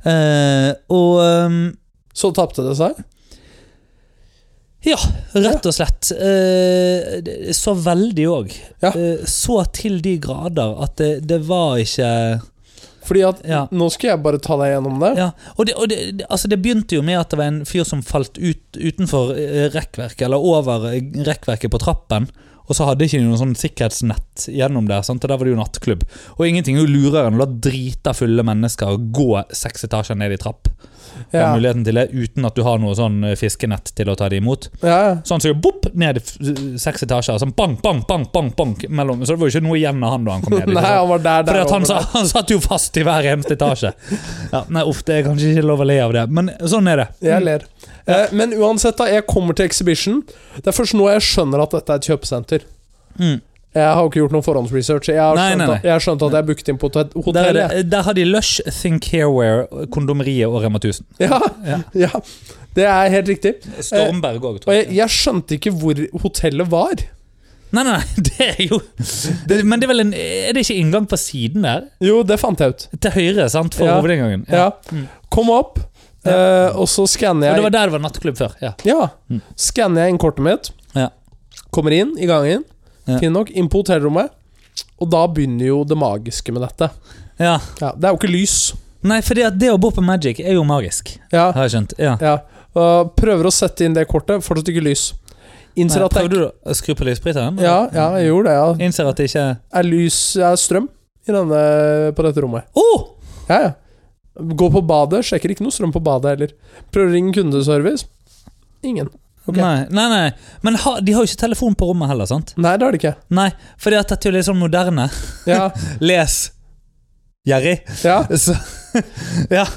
[SPEAKER 2] Eh, og eh,
[SPEAKER 1] Så tapte det seg.
[SPEAKER 2] Ja, rett og slett. Eh, det- Så veldig òg.
[SPEAKER 1] Ja.
[SPEAKER 2] Eh, Så til de grader at det, det var ikke
[SPEAKER 1] Fordi at
[SPEAKER 2] Ja.
[SPEAKER 1] Nå skal jeg bare ta deg gjennom det.
[SPEAKER 2] ja. Og, det, og det, det- altså det begynte jo med at det var en fyr som falt ut utenfor eh, rekkverket, eller over eh, rekkverket på trappen. Og så hadde ikke de noe sånn sikkerhetsnett gjennom der, sant? og der var det jo nattklubb. Og ingenting er jo lurere enn å la drita fulle mennesker gå seks etasjer ned i trapp.
[SPEAKER 1] Ja, ja.
[SPEAKER 2] Muligheten til det, uten at du har noe sånn eh, fiskenett til å ta det imot.
[SPEAKER 1] ja.
[SPEAKER 2] Så han sier bopp ned f- seks etasjer. Sånn bang, bang, bang, bang, bang mellom. Så det var jo ikke noe igjen av han da han
[SPEAKER 1] <laughs>
[SPEAKER 2] kom ned.
[SPEAKER 1] Nei, han var der, der
[SPEAKER 2] Fordi at han,
[SPEAKER 1] over
[SPEAKER 2] sa,
[SPEAKER 1] der.
[SPEAKER 2] han satt jo fast i hver eneste etasje. Ja, nei, uff, det er kanskje ikke lov å le av det, men sånn er det.
[SPEAKER 1] Jeg ler. Eh, men uansett, da. Jeg kommer til Exhibition. Det er først nå jeg skjønner at dette er et kjøpesenter.
[SPEAKER 2] Mm.
[SPEAKER 1] Jeg har jo ikke gjort noen forhåndsresearch. Jeg har
[SPEAKER 2] Nei,
[SPEAKER 1] skjønt,
[SPEAKER 2] nei,
[SPEAKER 1] At, jeg har skjønt at jeg er booket inn på et
[SPEAKER 2] Der,
[SPEAKER 1] hotell.
[SPEAKER 2] er det- der har de Lush, Think Hairwear, Kondomeriet og Rema 1000.
[SPEAKER 1] Ja, ja. Eh, det er helt riktig.
[SPEAKER 2] Stormberg òg,
[SPEAKER 1] Og
[SPEAKER 2] tror
[SPEAKER 1] jeg,
[SPEAKER 2] jeg.
[SPEAKER 1] jeg skjønte ikke hvor hotellet var.
[SPEAKER 2] Nei, nei, <laughs> nei, det er jo det, Men det er vel en Er det ikke inngang på siden der?
[SPEAKER 1] Jo, det fant jeg ut.
[SPEAKER 2] Til høyre, sant? For
[SPEAKER 1] Ja.
[SPEAKER 2] hovedinngangen.
[SPEAKER 1] Ja. Kom opp, eh, og så skanner
[SPEAKER 2] Og Mm. det
[SPEAKER 1] jeg
[SPEAKER 2] var der det var nattklubb før. Ja.
[SPEAKER 1] Ja. Skanner jeg inn kortet mitt.
[SPEAKER 2] Ja.
[SPEAKER 1] Kommer inn i gangen.
[SPEAKER 2] Ja.
[SPEAKER 1] Fint nok. Inn på hotellrommet. Og da begynner jo det magiske med dette.
[SPEAKER 2] ja.
[SPEAKER 1] Ja, det er jo ikke lys.
[SPEAKER 2] Nei, fordi at det å bo på Magic er jo magisk.
[SPEAKER 1] Ja,
[SPEAKER 2] Har jeg skjønt. Ja.
[SPEAKER 1] ja. Og prøver å sette inn det kortet. Fortsatt ikke lys. Innser at det
[SPEAKER 2] Prøvde du å skru på lysbryteren?
[SPEAKER 1] Ja, ja, jeg gjorde det. Ja.
[SPEAKER 2] Innser at det ikke
[SPEAKER 1] Er lys er strøm i denne, på dette rommet?
[SPEAKER 2] oh!
[SPEAKER 1] Ja, ja. Gå på badet, sjekker ikke noe strøm på badet heller. Prøver å ringe kundeservice. Ingen. Ok.
[SPEAKER 2] Nei, nei, nei. Men ha, de har jo ikke telefon på rommet heller, sant?
[SPEAKER 1] Nei, det har de ikke.
[SPEAKER 2] Nei, fordi at dette er jo litt sånn moderne.
[SPEAKER 1] Ja,
[SPEAKER 2] Les Jerry. <laughs>
[SPEAKER 1] ja. <laughs>
[SPEAKER 2] Så Ja.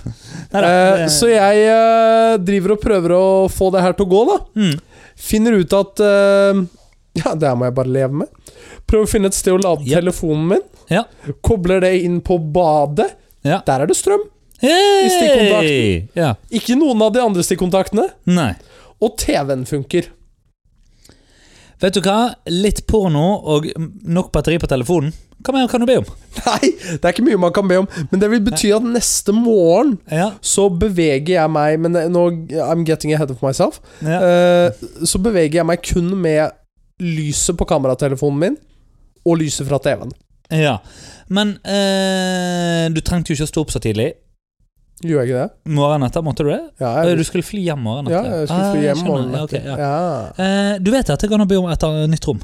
[SPEAKER 2] Neida,
[SPEAKER 1] Eh,
[SPEAKER 2] det-
[SPEAKER 1] så jeg eh, driver og prøver å få det her til å gå, da.
[SPEAKER 2] Mm.
[SPEAKER 1] Finner ut at eh, <laughs> Ja, det her må jeg bare leve med. Prøver å finne et sted å lade
[SPEAKER 2] Yep.
[SPEAKER 1] telefonen min.
[SPEAKER 2] Ja.
[SPEAKER 1] Kobler det inn på badet.
[SPEAKER 2] Ja.
[SPEAKER 1] Der er det strøm.
[SPEAKER 2] Hey!
[SPEAKER 1] stikkontakten.
[SPEAKER 2] Ja.
[SPEAKER 1] Ikke noen av de andre stikkontaktene.
[SPEAKER 2] Nei.
[SPEAKER 1] Og TV-en funker.
[SPEAKER 2] Vet du hva? Litt porno og nok batteri på telefonen. Hva mer kan du be om?
[SPEAKER 1] <laughs> Nei, det er ikke mye man kan be om, men det vil bety at neste morgen
[SPEAKER 2] Ja,
[SPEAKER 1] så beveger jeg meg Men nå I'm getting ahead of myself.
[SPEAKER 2] ja.
[SPEAKER 1] Eh, så beveger jeg meg kun med lyset på kameratelefonen min og lyset fra TV-en.
[SPEAKER 2] ja. Men eh, du trengte jo ikke å stå opp så tidlig.
[SPEAKER 1] Gjør jeg ikke det?
[SPEAKER 2] Morgenen etter, måtte du det?
[SPEAKER 1] Ja,
[SPEAKER 2] Eh,
[SPEAKER 1] jeg,
[SPEAKER 2] Du skulle fly hjem morgenen
[SPEAKER 1] ja,
[SPEAKER 2] etter.
[SPEAKER 1] jeg skulle
[SPEAKER 2] Ah,
[SPEAKER 1] fly hjem
[SPEAKER 2] skjønner.
[SPEAKER 1] morgenen
[SPEAKER 2] Ja, ok,
[SPEAKER 1] etter.
[SPEAKER 2] ja.
[SPEAKER 1] Ja.
[SPEAKER 2] Eh, du vet at jeg kan be om et eh, nytt rom.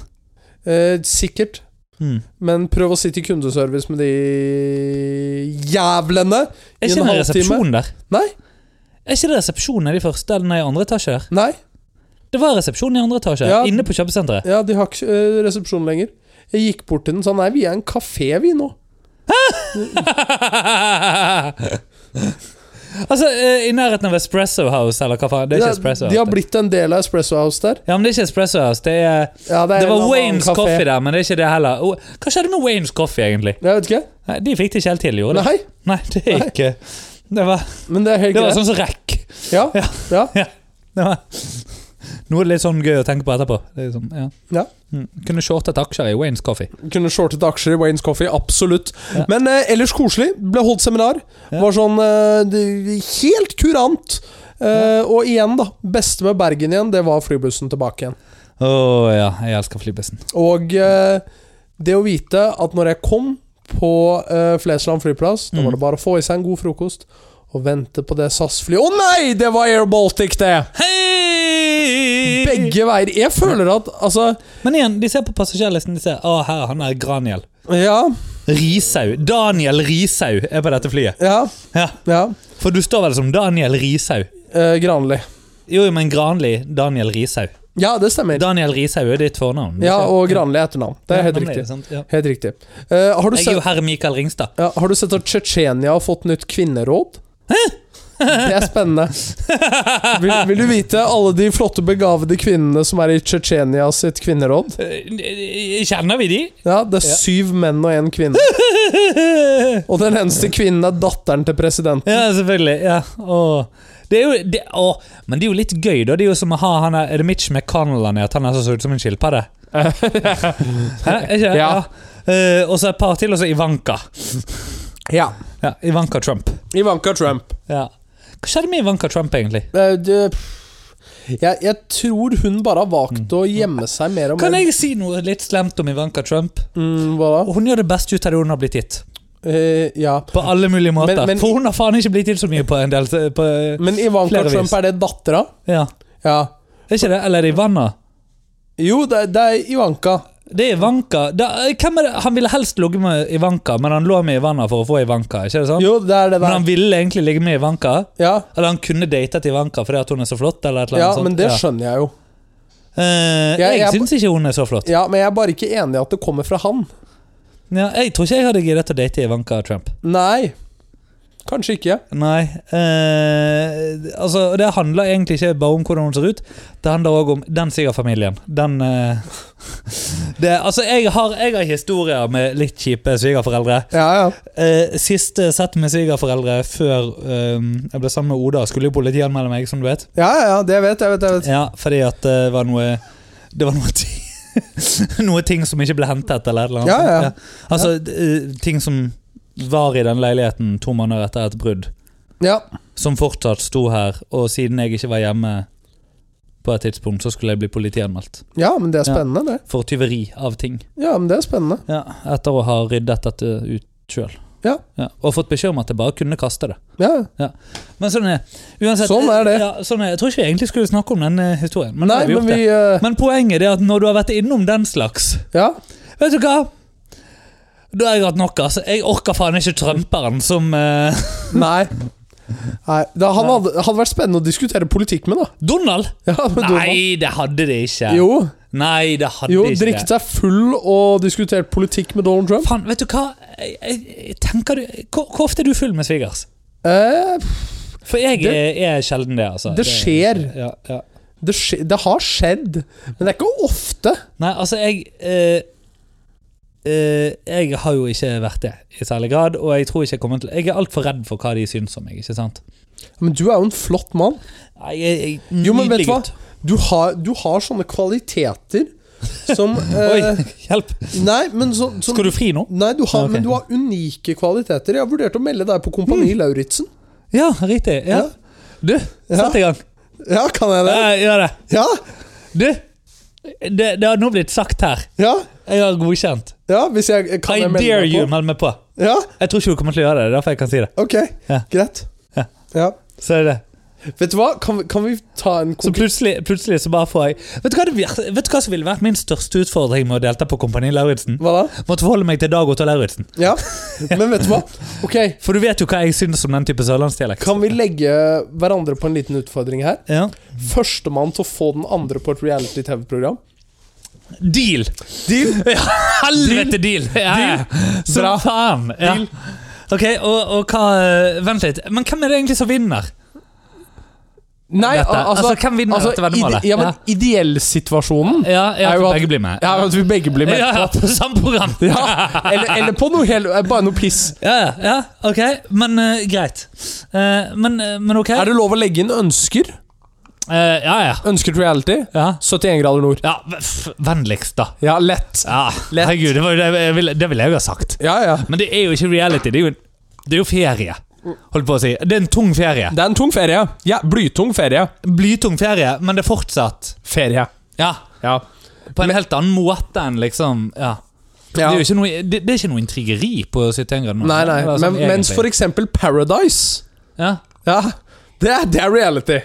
[SPEAKER 1] Eh, sikkert.
[SPEAKER 2] Mm.
[SPEAKER 1] Men prøv å sitte i kundeservice med de jævlene
[SPEAKER 2] Er
[SPEAKER 1] i
[SPEAKER 2] ikke
[SPEAKER 1] en
[SPEAKER 2] det
[SPEAKER 1] halvtime.
[SPEAKER 2] resepsjon der?
[SPEAKER 1] Nei.
[SPEAKER 2] Er ikke det resepsjonen i de første eller nei, i andre etasje der?
[SPEAKER 1] Nei,
[SPEAKER 2] Det var resepsjon i andre etasje,
[SPEAKER 1] Ja.
[SPEAKER 2] inne på kjøpesenteret. <laughs>
[SPEAKER 1] ja, de har ikke eh, resepsjon lenger. Jeg gikk bort til den og sa nei, vi er en kafé, vi nå.
[SPEAKER 2] altså, eh, i nærheten av Espresso House, eller hva faen? Det er ikke Espresso
[SPEAKER 1] de har
[SPEAKER 2] House. det.
[SPEAKER 1] blitt en del av Espresso House der.
[SPEAKER 2] Ja, men det er ikke Espresso House. Det, er,
[SPEAKER 1] Ja, det, er
[SPEAKER 2] det
[SPEAKER 1] en
[SPEAKER 2] var
[SPEAKER 1] annen
[SPEAKER 2] Waynes
[SPEAKER 1] kafé.
[SPEAKER 2] Coffee der, men det er ikke det heller. Oh, Hva skjedde med Waynes Coffee, egentlig?
[SPEAKER 1] Jeg vet ikke.
[SPEAKER 2] Nei, De fikk det ikke helt til, gjorde de?
[SPEAKER 1] Nei,
[SPEAKER 2] Nei, det er
[SPEAKER 1] Nei.
[SPEAKER 2] ikke Det var,
[SPEAKER 1] men det er helt
[SPEAKER 2] det var
[SPEAKER 1] greit.
[SPEAKER 2] sånn som rekk.
[SPEAKER 1] Ja,
[SPEAKER 2] Ja.
[SPEAKER 1] ja.
[SPEAKER 2] Det var, nå er det litt sånn gøy å tenke på etterpå. Det er sånn, ja.
[SPEAKER 1] Ja.
[SPEAKER 2] Mm. Kunne shortet aksjer i Waynes Coffee.
[SPEAKER 1] Kunne shortet aksjer i Waynes Coffee, absolutt.
[SPEAKER 2] Ja.
[SPEAKER 1] Men eh, ellers koselig. Ble holdt seminar.
[SPEAKER 2] Ja.
[SPEAKER 1] Var sånn eh, det- helt kurant. Eh, Og igjen, da. Beste med Bergen igjen, det var flybussen tilbake igjen.
[SPEAKER 2] Å ja, jeg elsker flybussen.
[SPEAKER 1] Og eh, det å vite at når jeg kom på eh, Flesland flyplass, da var
[SPEAKER 2] Mm.
[SPEAKER 1] det bare å få i seg en god frokost og vente på det SAS-flyet Å nei, det var Air Baltic, det!
[SPEAKER 2] Hei!
[SPEAKER 1] Begge veier. Jeg føler at altså
[SPEAKER 2] Men igjen, de ser på passasjerlisten. De ser, å her, han er Graniel.
[SPEAKER 1] Ja,
[SPEAKER 2] Risau. Daniel Risau er på dette flyet.
[SPEAKER 1] ja,
[SPEAKER 2] Ja,
[SPEAKER 1] ja.
[SPEAKER 2] For du står vel som Daniel Risau?
[SPEAKER 1] Eh, Granli.
[SPEAKER 2] Jo, jo, men Granli Daniel Risau.
[SPEAKER 1] Ja, det stemmer.
[SPEAKER 2] Daniel Risau er ditt fornavn.
[SPEAKER 1] Ja, og Granli er etternavn. Det er helt
[SPEAKER 2] Mm. Ja,
[SPEAKER 1] riktig.
[SPEAKER 2] sant? Ja.
[SPEAKER 1] Helt riktig. Eh, har, du
[SPEAKER 2] Jeg er
[SPEAKER 1] sett,
[SPEAKER 2] jo herr Mikael Ringstad.
[SPEAKER 1] ja, har du sett at Tsjetsjenia har fått nytt kvinneråd? Det er spennende. Vil, vil du vite alle de flotte, begavede kvinnene som er i Tsjetsjenia sitt kvinneråd?
[SPEAKER 2] Eh, Kjenner vi de?
[SPEAKER 1] Ja, Det er
[SPEAKER 2] Ja.
[SPEAKER 1] syv menn og én kvinne.
[SPEAKER 2] <laughs>
[SPEAKER 1] Og den eneste kvinnen er datteren til presidenten.
[SPEAKER 2] Ja, selvfølgelig. Ja. Åh. Det er jo, det, åh. Men det er jo litt gøy, da. Det er jo som å ha han der, er det Mitch McConnell han er, at han er så så ut som
[SPEAKER 1] <laughs>
[SPEAKER 2] en skilpadde. Hæ? Er Ikke? det?
[SPEAKER 1] Ja.
[SPEAKER 2] Ja. Eh, og så et par til, og så Ivanka.
[SPEAKER 1] Ja.
[SPEAKER 2] Ja, Ivanka Trump.
[SPEAKER 1] Ivanka Trump.
[SPEAKER 2] Ja. Hva skjedde med Ivanka Trump, egentlig?
[SPEAKER 1] Eh, det- jeg, jeg tror hun bare har valgt å gjemme seg mer og
[SPEAKER 2] Kan
[SPEAKER 1] mer.
[SPEAKER 2] jeg si noe litt slemt om Ivanka Trump?
[SPEAKER 1] Mm, hva da?
[SPEAKER 2] Hun gjør det beste ut av det hun har blitt gitt.
[SPEAKER 1] Eh, ja.
[SPEAKER 2] På alle mulige måter.
[SPEAKER 1] Men- men-
[SPEAKER 2] For hun har faen ikke blitt gitt så mye på en del på,
[SPEAKER 1] Men Ivanka
[SPEAKER 2] Flere vis.
[SPEAKER 1] Trump, er det dattera?
[SPEAKER 2] Ja.
[SPEAKER 1] Ja.
[SPEAKER 2] Er ikke det? Eller er det Ivana?
[SPEAKER 1] Jo, det, det er Ivanka.
[SPEAKER 2] Det er Ivanka. Da, hvem er det? Han ville helst ligge med Ivanka, men han lå med Ivana for å få Ivanka. ikke det sånn?
[SPEAKER 1] Jo, det er det
[SPEAKER 2] Men han
[SPEAKER 1] der.
[SPEAKER 2] ville egentlig ligge med Ivanka.
[SPEAKER 1] Ja,
[SPEAKER 2] Eller han kunne datet Ivanka fordi at hun er så flott. eller et eller
[SPEAKER 1] ja
[SPEAKER 2] annet sånt.
[SPEAKER 1] men det
[SPEAKER 2] Ja.
[SPEAKER 1] skjønner jeg jo.
[SPEAKER 2] Eh,
[SPEAKER 1] Jeg-
[SPEAKER 2] jeg
[SPEAKER 1] jeg-
[SPEAKER 2] syns ikke hun er så flott.
[SPEAKER 1] Ja, Men jeg er bare ikke enig i at det kommer fra han.
[SPEAKER 2] Ja, jeg tror ikke jeg hadde giddet å date Ivanka Trump.
[SPEAKER 1] Nei. Kanskje ikke.
[SPEAKER 2] Nei. eh, altså, Det handler egentlig ikke bare om hvordan hun ser ut, det handler òg om den svigerfamilien. Den eh, <laughs> Det, altså, jeg har, jeg har historier med litt kjipe svigerforeldre.
[SPEAKER 1] Ja, ja.
[SPEAKER 2] Eh, siste sett med svigerforeldre før eh, jeg ble sammen med Oda, skulle jo politiet anmelde meg, som du vet.
[SPEAKER 1] Ja, ja, ja, det vet jeg. vet, jeg vet.
[SPEAKER 2] Ja, fordi at det var noe Det var noe ting <laughs> Noe ting som ikke ble hentet eller et eller annet.
[SPEAKER 1] Ja, ja.
[SPEAKER 2] Altså, d- eh, ting som var i den leiligheten to måneder etter et brudd,
[SPEAKER 1] Ja.
[SPEAKER 2] som fortsatt sto her, og siden jeg ikke var hjemme på et tidspunkt, så skulle jeg bli politianmeldt
[SPEAKER 1] ja, men det er
[SPEAKER 2] Ja.
[SPEAKER 1] spennende, det.
[SPEAKER 2] for tyveri av ting.
[SPEAKER 1] Ja, men det er spennende.
[SPEAKER 2] Ja, etter å ha ryddet dette ut sjøl.
[SPEAKER 1] Ja.
[SPEAKER 2] Og fått beskjed om at jeg bare kunne kaste det.
[SPEAKER 1] Ja,
[SPEAKER 2] Men sånn er, uansett,
[SPEAKER 1] Sånn er det.
[SPEAKER 2] Ja, sånn er, jeg tror ikke vi egentlig skulle snakke om den eh, historien, men,
[SPEAKER 1] Nei,
[SPEAKER 2] Nei, vi
[SPEAKER 1] men
[SPEAKER 2] gjort
[SPEAKER 1] vi
[SPEAKER 2] det.
[SPEAKER 1] eh,
[SPEAKER 2] men poenget er at når du har vært innom den slags
[SPEAKER 1] Ja.
[SPEAKER 2] Vet du hva? Da har jeg hatt nok. altså. Jeg orker faen ikke trumperen som eh, <laughs>
[SPEAKER 1] Nei. Nei. Det hadde, hadde vært spennende å diskutere politikk med, da.
[SPEAKER 2] Donald!
[SPEAKER 1] Ja, med Donald.
[SPEAKER 2] Nei, det hadde det ikke.
[SPEAKER 1] Jo,
[SPEAKER 2] Nei, det hadde
[SPEAKER 1] jo
[SPEAKER 2] ikke
[SPEAKER 1] drikket
[SPEAKER 2] det.
[SPEAKER 1] seg full og diskutert politikk med Donald Trump.
[SPEAKER 2] Faen, vet du hva? Jeg, jeg, jeg tenker du, hvor, hvor ofte er du full med svigers?
[SPEAKER 1] Eh,
[SPEAKER 2] For jeg
[SPEAKER 1] Det-
[SPEAKER 2] er, er sjelden det, altså.
[SPEAKER 1] det skjer.
[SPEAKER 2] Ja, ja.
[SPEAKER 1] Det, skje, det har skjedd, men det er ikke ofte.
[SPEAKER 2] Nei, altså, jeg eh, eh, Jeg har jo ikke vært det i særlig grad, og jeg tror ikke jeg kommer til Jeg er altfor redd for hva de syns om meg, ikke sant?
[SPEAKER 1] Men du er jo en flott mann.
[SPEAKER 2] Nei, jeg, jeg,
[SPEAKER 1] Jo, men vet
[SPEAKER 2] nydelig
[SPEAKER 1] du hva?
[SPEAKER 2] gutt.
[SPEAKER 1] Du har, du har sånne kvaliteter
[SPEAKER 2] <laughs>
[SPEAKER 1] som eh,
[SPEAKER 2] Oi, hjelp!
[SPEAKER 1] Nei, men så, som,
[SPEAKER 2] Skal du fri nå?
[SPEAKER 1] Nei, du har,
[SPEAKER 2] Ah, Ok.
[SPEAKER 1] men du har unike kvaliteter. Jeg har vurdert å melde deg på Kompani
[SPEAKER 2] Mm.
[SPEAKER 1] Lauritzen.
[SPEAKER 2] Ja, riktig. Ja.
[SPEAKER 1] Ja.
[SPEAKER 2] Du, sett i gang.
[SPEAKER 1] Ja, kan jeg det?
[SPEAKER 2] Ja, gjør det.
[SPEAKER 1] Ja,
[SPEAKER 2] Du, det, det har nå blitt sagt her.
[SPEAKER 1] ja,
[SPEAKER 2] Jeg har godkjent.
[SPEAKER 1] ja hvis jeg eh, kan
[SPEAKER 2] I
[SPEAKER 1] jeg melde
[SPEAKER 2] dare
[SPEAKER 1] meg
[SPEAKER 2] you,
[SPEAKER 1] på.
[SPEAKER 2] meld meg på.
[SPEAKER 1] Ja,
[SPEAKER 2] Jeg tror ikke du kommer til å gjøre det. det er derfor jeg kan si det.
[SPEAKER 1] ok,
[SPEAKER 2] Ja.
[SPEAKER 1] greit.
[SPEAKER 2] Ja.
[SPEAKER 1] Ja.
[SPEAKER 2] Så er det.
[SPEAKER 1] Vet du hva, kan, vi- kan vi ta en
[SPEAKER 2] Så
[SPEAKER 1] konklusjon? plutselig
[SPEAKER 2] plutselig, plutselig så bare får jeg Vet du hva, det, vir- vet du hva som ville vært min største utfordring med å delta på Kompani Lauritzen?
[SPEAKER 1] Hva da?
[SPEAKER 2] Måtte forholde meg til Dag Otto Lauritzen. <laughs>
[SPEAKER 1] Ja, men vet du hva? Ok,
[SPEAKER 2] For du vet jo hva jeg syns om den type sørlandsdialekt.
[SPEAKER 1] kan vi legge hverandre på en liten utfordring her?
[SPEAKER 2] Ja.
[SPEAKER 1] Førstemann til å få den andre på et reality-TV-program.
[SPEAKER 2] Deal!
[SPEAKER 1] Deal?
[SPEAKER 2] <laughs> Ja, helvete, deal! Ja. Så
[SPEAKER 1] Bra.
[SPEAKER 2] faen! Ja.
[SPEAKER 1] Deal.
[SPEAKER 2] Ok, og, og hva eh, Vent litt. Men hvem er det egentlig som vinner?
[SPEAKER 1] Nei,
[SPEAKER 2] Dette.
[SPEAKER 1] al- altså,
[SPEAKER 2] Altså, hvem vinner dette veddemålet?
[SPEAKER 1] ide- Ja, men Ideellsituasjonen
[SPEAKER 2] Ja, ja
[SPEAKER 1] Er
[SPEAKER 2] at
[SPEAKER 1] jo at-
[SPEAKER 2] begge blir med.
[SPEAKER 1] ja, at vi begge blir med.
[SPEAKER 2] Ja, ja, på samme program!
[SPEAKER 1] <laughs> Ja, eller, eller på noe helt eh, Bare noe piss.
[SPEAKER 2] Ja, ja, ja, ok. Men eh, greit. Eh, men, eh, men ok.
[SPEAKER 1] Er det lov å legge inn ønsker?
[SPEAKER 2] Eh, ja, ja.
[SPEAKER 1] Ønsket reality?
[SPEAKER 2] Ja,
[SPEAKER 1] 71 grader nord.
[SPEAKER 2] ja f- vennligst, da.
[SPEAKER 1] Ja, lett.
[SPEAKER 2] Ja,
[SPEAKER 1] Lett.
[SPEAKER 2] Herregud, det, var, jo det, jeg ville, det ville jeg jo ha sagt.
[SPEAKER 1] Ja, ja.
[SPEAKER 2] Men det er jo ikke reality. Det er jo, en- det er jo ferie. Holdt på å si. Det er en tung ferie.
[SPEAKER 1] Det er en tung ferie. Ja, Blytung ferie.
[SPEAKER 2] Blytung ferie, men det er fortsatt
[SPEAKER 1] Ferie.
[SPEAKER 2] Ja,
[SPEAKER 1] Ja.
[SPEAKER 2] på en helt annen måte enn liksom Ja. Det
[SPEAKER 1] Ja.
[SPEAKER 2] er jo ikke noe, det, det er ikke noe intrigeri på 71 grader. nå.
[SPEAKER 1] Nei, nei.
[SPEAKER 2] Det var
[SPEAKER 1] Men,
[SPEAKER 2] sånn
[SPEAKER 1] mens
[SPEAKER 2] egentlig.
[SPEAKER 1] for eksempel Paradise
[SPEAKER 2] ja.
[SPEAKER 1] Ja, det er, det er reality.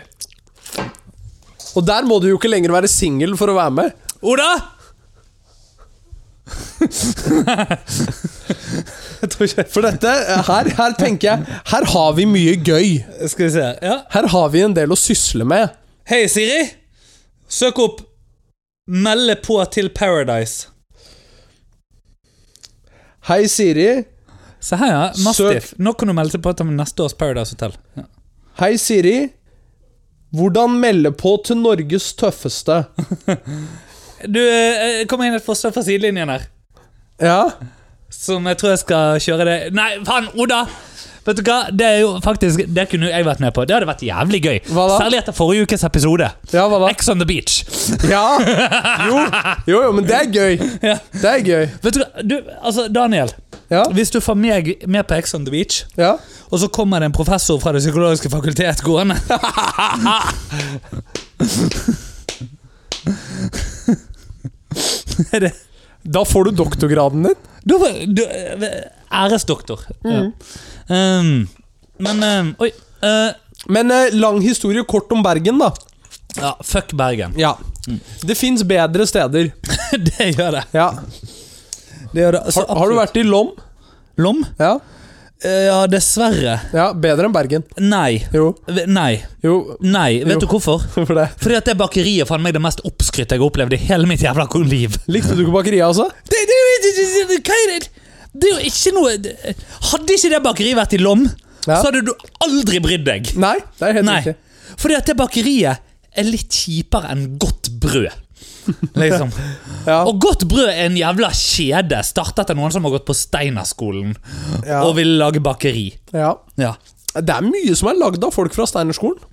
[SPEAKER 1] Og der må du jo ikke lenger være singel for å være med.
[SPEAKER 2] Oda! jeg tror ikke
[SPEAKER 1] For dette, eh, her, her tenker jeg Her har vi mye gøy.
[SPEAKER 2] Skal vi se. Ja.
[SPEAKER 1] Her har vi en del å sysle med.
[SPEAKER 2] Hei, Siri. Søk opp 'Melde på til Paradise'.
[SPEAKER 1] Hei, Siri.
[SPEAKER 2] Se her, ja. Mastiff.
[SPEAKER 1] Søk-
[SPEAKER 2] Nå kan du melde seg på til neste års Paradise Hotel. Ja.
[SPEAKER 1] Hei, Siri. Hvordan melde på til Norges tøffeste?
[SPEAKER 2] Du, eh, kom inn et forslag fra sidelinjen her.
[SPEAKER 1] Ja.
[SPEAKER 2] Som jeg tror jeg skal kjøre det Nei, faen, Oda! Vet du hva, Det er jo faktisk Det kunne jeg vært med på. Det hadde vært jævlig gøy.
[SPEAKER 1] Hva da?
[SPEAKER 2] Særlig etter forrige ukes episode.
[SPEAKER 1] Ja, hva da?
[SPEAKER 2] Ex on the beach.
[SPEAKER 1] Ja. Jo. jo, jo, men det er gøy.
[SPEAKER 2] Ja.
[SPEAKER 1] Det er gøy.
[SPEAKER 2] Vet du hva, du, altså Daniel.
[SPEAKER 1] Ja.
[SPEAKER 2] Hvis du får meg med på Ex on the beach,
[SPEAKER 1] ja.
[SPEAKER 2] og så kommer det en professor fra Det psykologiske fakultet gående <laughs> Er det
[SPEAKER 1] Da får du doktorgraden din.
[SPEAKER 2] Du var du, eh, æresdoktor.
[SPEAKER 1] Mm.
[SPEAKER 2] Ja. Um, men um, Oi. eh,
[SPEAKER 1] Men eh, lang historie kort om Bergen, da.
[SPEAKER 2] ja, fuck Bergen. <laughs>
[SPEAKER 1] Ja. Det fins bedre steder.
[SPEAKER 2] det gjør det.
[SPEAKER 1] Ja.
[SPEAKER 2] det, gjør det. Så
[SPEAKER 1] Har, har du
[SPEAKER 2] absolutt.
[SPEAKER 1] vært i Lom?
[SPEAKER 2] Lom?
[SPEAKER 1] Ja.
[SPEAKER 2] Eh, ja, dessverre.
[SPEAKER 1] ja. Bedre enn Bergen.
[SPEAKER 2] Nei.
[SPEAKER 1] Jo.
[SPEAKER 2] V- Nei.
[SPEAKER 1] Jo, <laughs>
[SPEAKER 2] Nei. Vet
[SPEAKER 1] Jo.
[SPEAKER 2] du hvorfor?
[SPEAKER 1] for det.
[SPEAKER 2] Fordi at det bakeriet fant meg det mest oppskrytte jeg har opplevd i hele mitt jævla liv.
[SPEAKER 1] Likte du ikke bakeriet, altså?
[SPEAKER 2] Det, det, det, det, det, det, hva er det? det er jo ikke noe det- Hadde ikke det bakeriet vært i Lom,
[SPEAKER 1] Ja.
[SPEAKER 2] så hadde du aldri brydd deg.
[SPEAKER 1] Nei, det er helt
[SPEAKER 2] Nei.
[SPEAKER 1] riktig. <laughs>
[SPEAKER 2] Fordi at det bakeriet er litt kjipere enn godt brød. Liksom.
[SPEAKER 5] Ja.
[SPEAKER 2] Og godt brød er en jævla kjede, startet av noen som har gått på Steinerskolen
[SPEAKER 5] Ja.
[SPEAKER 2] og vil lage bakeri.
[SPEAKER 5] ja.
[SPEAKER 2] Ja.
[SPEAKER 1] Det er mye som er lagd av folk fra Steinerskolen.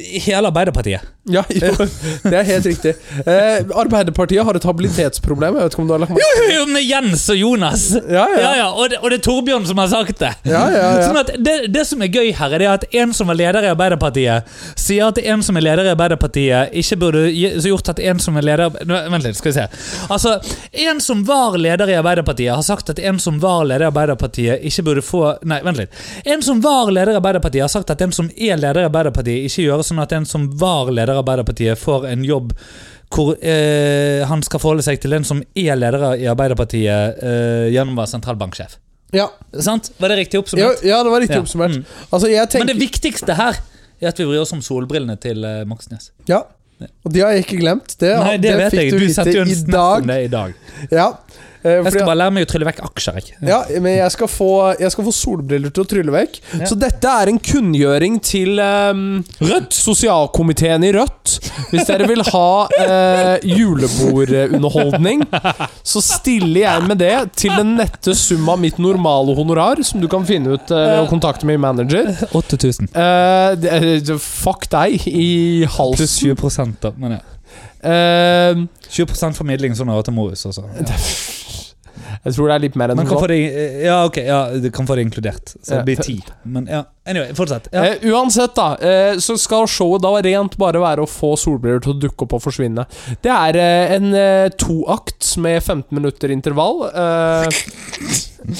[SPEAKER 2] Hele
[SPEAKER 1] <laughs>
[SPEAKER 2] Arbeiderpartiet.
[SPEAKER 1] Ja, jo, det er helt riktig. Eh, Arbeiderpartiet har et habilitetsproblem. Jeg vet ikke om du har lagt merke
[SPEAKER 2] Jo, jo, med Jens og Jonas.
[SPEAKER 1] Ja, ja.
[SPEAKER 2] og, det, og det er Torbjørn som har sagt det.
[SPEAKER 1] Ja, ja, ja.
[SPEAKER 2] Sånn at det, det som er gøy her, er det at en som var leder i Arbeiderpartiet, sier at en som er leder i Arbeiderpartiet, ikke burde gi- så gjort at en som er leder Nå, Vent litt, skal vi se. Altså, en som var leder i Arbeiderpartiet, har sagt at en som var leder i Arbeiderpartiet, ikke burde få Nei, vent litt. En som var leder i Arbeiderpartiet, har sagt at en som er leder i Arbeiderpartiet, ikke gjør sånn at en som var leder i Arbeiderpartiet, får en jobb hvor eh, han skal forholde seg til en som er leder i Arbeiderpartiet eh, gjennom å være sentralbanksjef.
[SPEAKER 1] Ja,
[SPEAKER 2] Sant? Var det riktig
[SPEAKER 1] ja,
[SPEAKER 2] oppsummert?
[SPEAKER 1] ja, det var riktig
[SPEAKER 2] Ja.
[SPEAKER 1] oppsummert.
[SPEAKER 2] Mm.
[SPEAKER 1] Altså, jeg
[SPEAKER 2] Men det
[SPEAKER 1] tenker
[SPEAKER 2] viktigste her er at vi bryr oss om solbrillene til eh, Moxnes.
[SPEAKER 1] Ja. Og de har jeg ikke glemt. Det,
[SPEAKER 2] Nei, det, vet
[SPEAKER 1] fikk
[SPEAKER 2] jeg.
[SPEAKER 1] du
[SPEAKER 2] Du
[SPEAKER 1] vite
[SPEAKER 2] sendte jo en
[SPEAKER 1] i
[SPEAKER 2] snap
[SPEAKER 1] dag.
[SPEAKER 2] om det i dag.
[SPEAKER 1] Ja. eh,
[SPEAKER 2] Jeg
[SPEAKER 1] fordi
[SPEAKER 2] skal bare lære meg å trylle vekk aksjer. Jeg. <laughs>
[SPEAKER 1] Ja, men jeg skal få, jeg skal få solbriller til å trylle vekk. Så dette er en kunngjøring til ehm, Sosialkomiteen i Rødt. Hvis dere vil ha eh, julebordunderholdning, så stiller jeg med det til den nette sum av mitt normale honorar, som du kan finne ut eh, ved å kontakte min manager.
[SPEAKER 2] 8000.
[SPEAKER 1] Eh, det- det- fuck deg i
[SPEAKER 2] Pluss
[SPEAKER 1] halsen.
[SPEAKER 2] 20 da. Men ja.
[SPEAKER 1] Eh,
[SPEAKER 2] 20 formidling sånn over til Morris
[SPEAKER 1] <laughs>
[SPEAKER 2] også. Ja.
[SPEAKER 1] jeg tror det er litt mer enn
[SPEAKER 2] Man
[SPEAKER 1] sånn.
[SPEAKER 2] kan få det, i- eh, ja, ok, ja, du kan få det inkludert. Så
[SPEAKER 1] Ja.
[SPEAKER 2] det blir 10. Men ja, anyway, fortsett. Ja.
[SPEAKER 1] Eh, uansett, da, eh, så skal showet da rent bare være å få solbriller til å dukke opp og forsvinne. Det er eh, en eh, toakt med 15 minutter intervall, eh,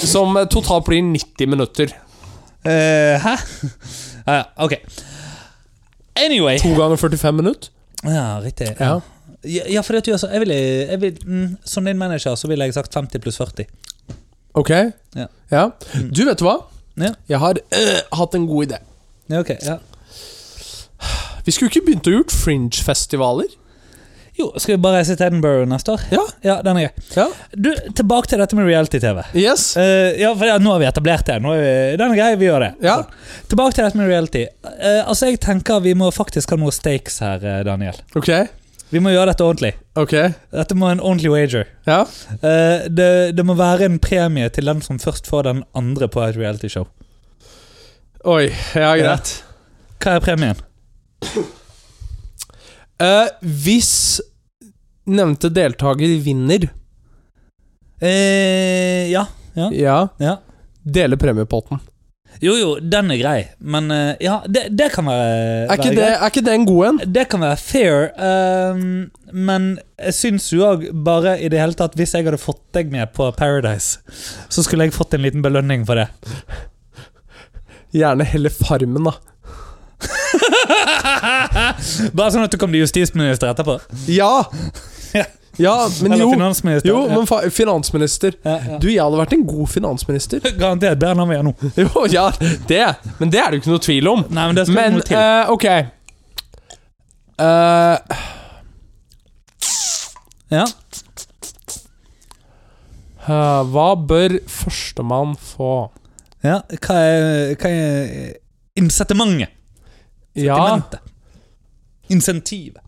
[SPEAKER 1] som eh, totalt blir 90 minutter.
[SPEAKER 2] Eh, hæ? <laughs> Ja, ja, ok. Anyway.
[SPEAKER 1] To ganger 45 minutter.
[SPEAKER 2] Ja, riktig.
[SPEAKER 1] Ja.
[SPEAKER 2] Ja, ja, ja for det at du, altså, jeg ville, jeg vil, mm, som din manager så ville jeg sagt 50 pluss 40.
[SPEAKER 1] Ok?
[SPEAKER 2] Ja. Mm.
[SPEAKER 1] Du, vet du hva?
[SPEAKER 2] Ja.
[SPEAKER 1] Jeg har eh, hatt en god idé.
[SPEAKER 2] Ja, ok, ja.
[SPEAKER 1] Vi skulle ikke begynt å gjort Fringe-festivaler.
[SPEAKER 2] Jo, skal vi bare reise til Edinburgh neste år?
[SPEAKER 1] Ja.
[SPEAKER 2] ja den er gøy.
[SPEAKER 1] Ja.
[SPEAKER 2] Du, tilbake til dette med reality-TV.
[SPEAKER 1] Yes.
[SPEAKER 2] Eh, ja, for ja, Nå har vi etablert det. Nå er vi, den er grei, vi gjør det.
[SPEAKER 1] Ja.
[SPEAKER 2] Sånn. Tilbake til dette med reality. Eh, altså, Jeg tenker vi må faktisk ha noen stakes her, eh, Daniel.
[SPEAKER 1] Ok.
[SPEAKER 2] Vi må gjøre dette ordentlig.
[SPEAKER 1] Ok.
[SPEAKER 2] Dette må en ordentlig wager.
[SPEAKER 1] Ja.
[SPEAKER 2] Eh, det, det må være en premie til den som først får den andre på et realityshow.
[SPEAKER 1] Oi. Ja, greit.
[SPEAKER 2] Hva er premien?
[SPEAKER 1] Eh, hvis nevnte deltaker vinner
[SPEAKER 2] Eh, ja. Ja.
[SPEAKER 1] Ja.
[SPEAKER 2] ja.
[SPEAKER 1] Dele premiepotten.
[SPEAKER 2] Jo, jo, den er grei, men eh, ja, det, det kan være
[SPEAKER 1] Er ikke,
[SPEAKER 2] være
[SPEAKER 1] det, er ikke det en god en?
[SPEAKER 2] Det kan være fair, ehm, men jeg syns jo òg bare i det hele tatt Hvis jeg hadde fått deg med på Paradise, så skulle jeg fått en liten belønning for det. <laughs>
[SPEAKER 1] Gjerne hele Farmen, da.
[SPEAKER 2] bare sånn at du kan bli justisminister etterpå.
[SPEAKER 1] Ja!
[SPEAKER 2] Ja.
[SPEAKER 1] Ja, men
[SPEAKER 2] Eller
[SPEAKER 1] jo.
[SPEAKER 2] finansminister.
[SPEAKER 1] Jo, men fa finansminister.
[SPEAKER 2] ja, ja,
[SPEAKER 1] Du, jeg hadde vært en god
[SPEAKER 2] <laughs>
[SPEAKER 1] finansminister.
[SPEAKER 2] ja. Garantert bedre enn han vi er nå.
[SPEAKER 1] Jo, ja, det. Men det er det jo ikke noe tvil om.
[SPEAKER 2] Nei, men det skal
[SPEAKER 1] Men
[SPEAKER 2] noe til.
[SPEAKER 1] eh, ok Eh,
[SPEAKER 2] Ja.
[SPEAKER 1] eh, Hva bør førstemann få?
[SPEAKER 2] Ja. Hva er, hva er incitamentet?
[SPEAKER 1] Ja,
[SPEAKER 2] Incitamentet. Insentivet.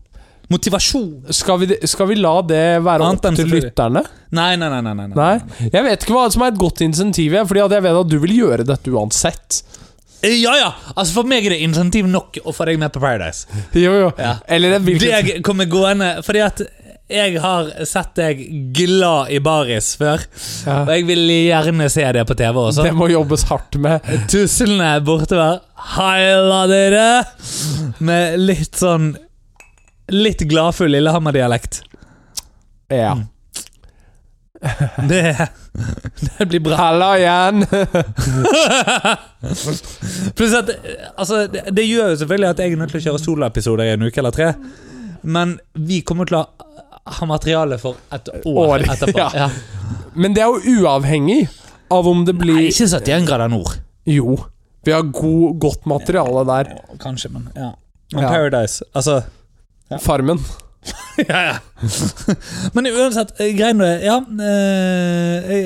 [SPEAKER 2] Motivasjon.
[SPEAKER 1] skal vi, skal vi la det være
[SPEAKER 2] Annet
[SPEAKER 1] opp
[SPEAKER 2] enn
[SPEAKER 1] til
[SPEAKER 2] selvfølgelig.
[SPEAKER 1] lytterne?
[SPEAKER 2] Nei, nei, nei. nei, nei,
[SPEAKER 1] Nei, jeg vet ikke hva som er et godt insentiv, jeg, fordi at jeg vet at du vil gjøre dette uansett.
[SPEAKER 2] Eh, Ja, ja! Altså For meg er det insentiv nok å få deg med på Paradise.
[SPEAKER 1] <laughs> Jo, jo.
[SPEAKER 2] Ja.
[SPEAKER 1] Eller en hvilken
[SPEAKER 2] Deg kommer gående Fordi at jeg har sett deg glad i baris før, og
[SPEAKER 1] ja,
[SPEAKER 2] jeg vil gjerne se det på TV også.
[SPEAKER 1] Det må jobbes hardt med.
[SPEAKER 2] <laughs> Tuslene bortover. Heila dere! Med litt sånn Litt gladfull Lillehammer-dialekt.
[SPEAKER 1] Ja.
[SPEAKER 2] Det, det blir bra.
[SPEAKER 1] Halla igjen!
[SPEAKER 2] Pluss at altså, det, det gjør jo selvfølgelig at jeg er nødt til å kjøre soloepisoder i en uke eller tre. Men vi kommer til å ha materiale for et år,
[SPEAKER 1] År,
[SPEAKER 2] etterpå.
[SPEAKER 1] ja.
[SPEAKER 2] Ja.
[SPEAKER 1] <laughs> Men det er jo uavhengig av om det
[SPEAKER 2] Nei,
[SPEAKER 1] blir
[SPEAKER 2] ikke 71 grader nord.
[SPEAKER 1] Jo. Vi har god, godt materiale der.
[SPEAKER 2] Kanskje, men ja. Men
[SPEAKER 1] Ja.
[SPEAKER 2] Paradise, altså <laughs>
[SPEAKER 1] Farmen.
[SPEAKER 2] Ja,
[SPEAKER 1] <laughs>
[SPEAKER 2] ja. men uansett, eh, greien med det Ja, eh, jeg,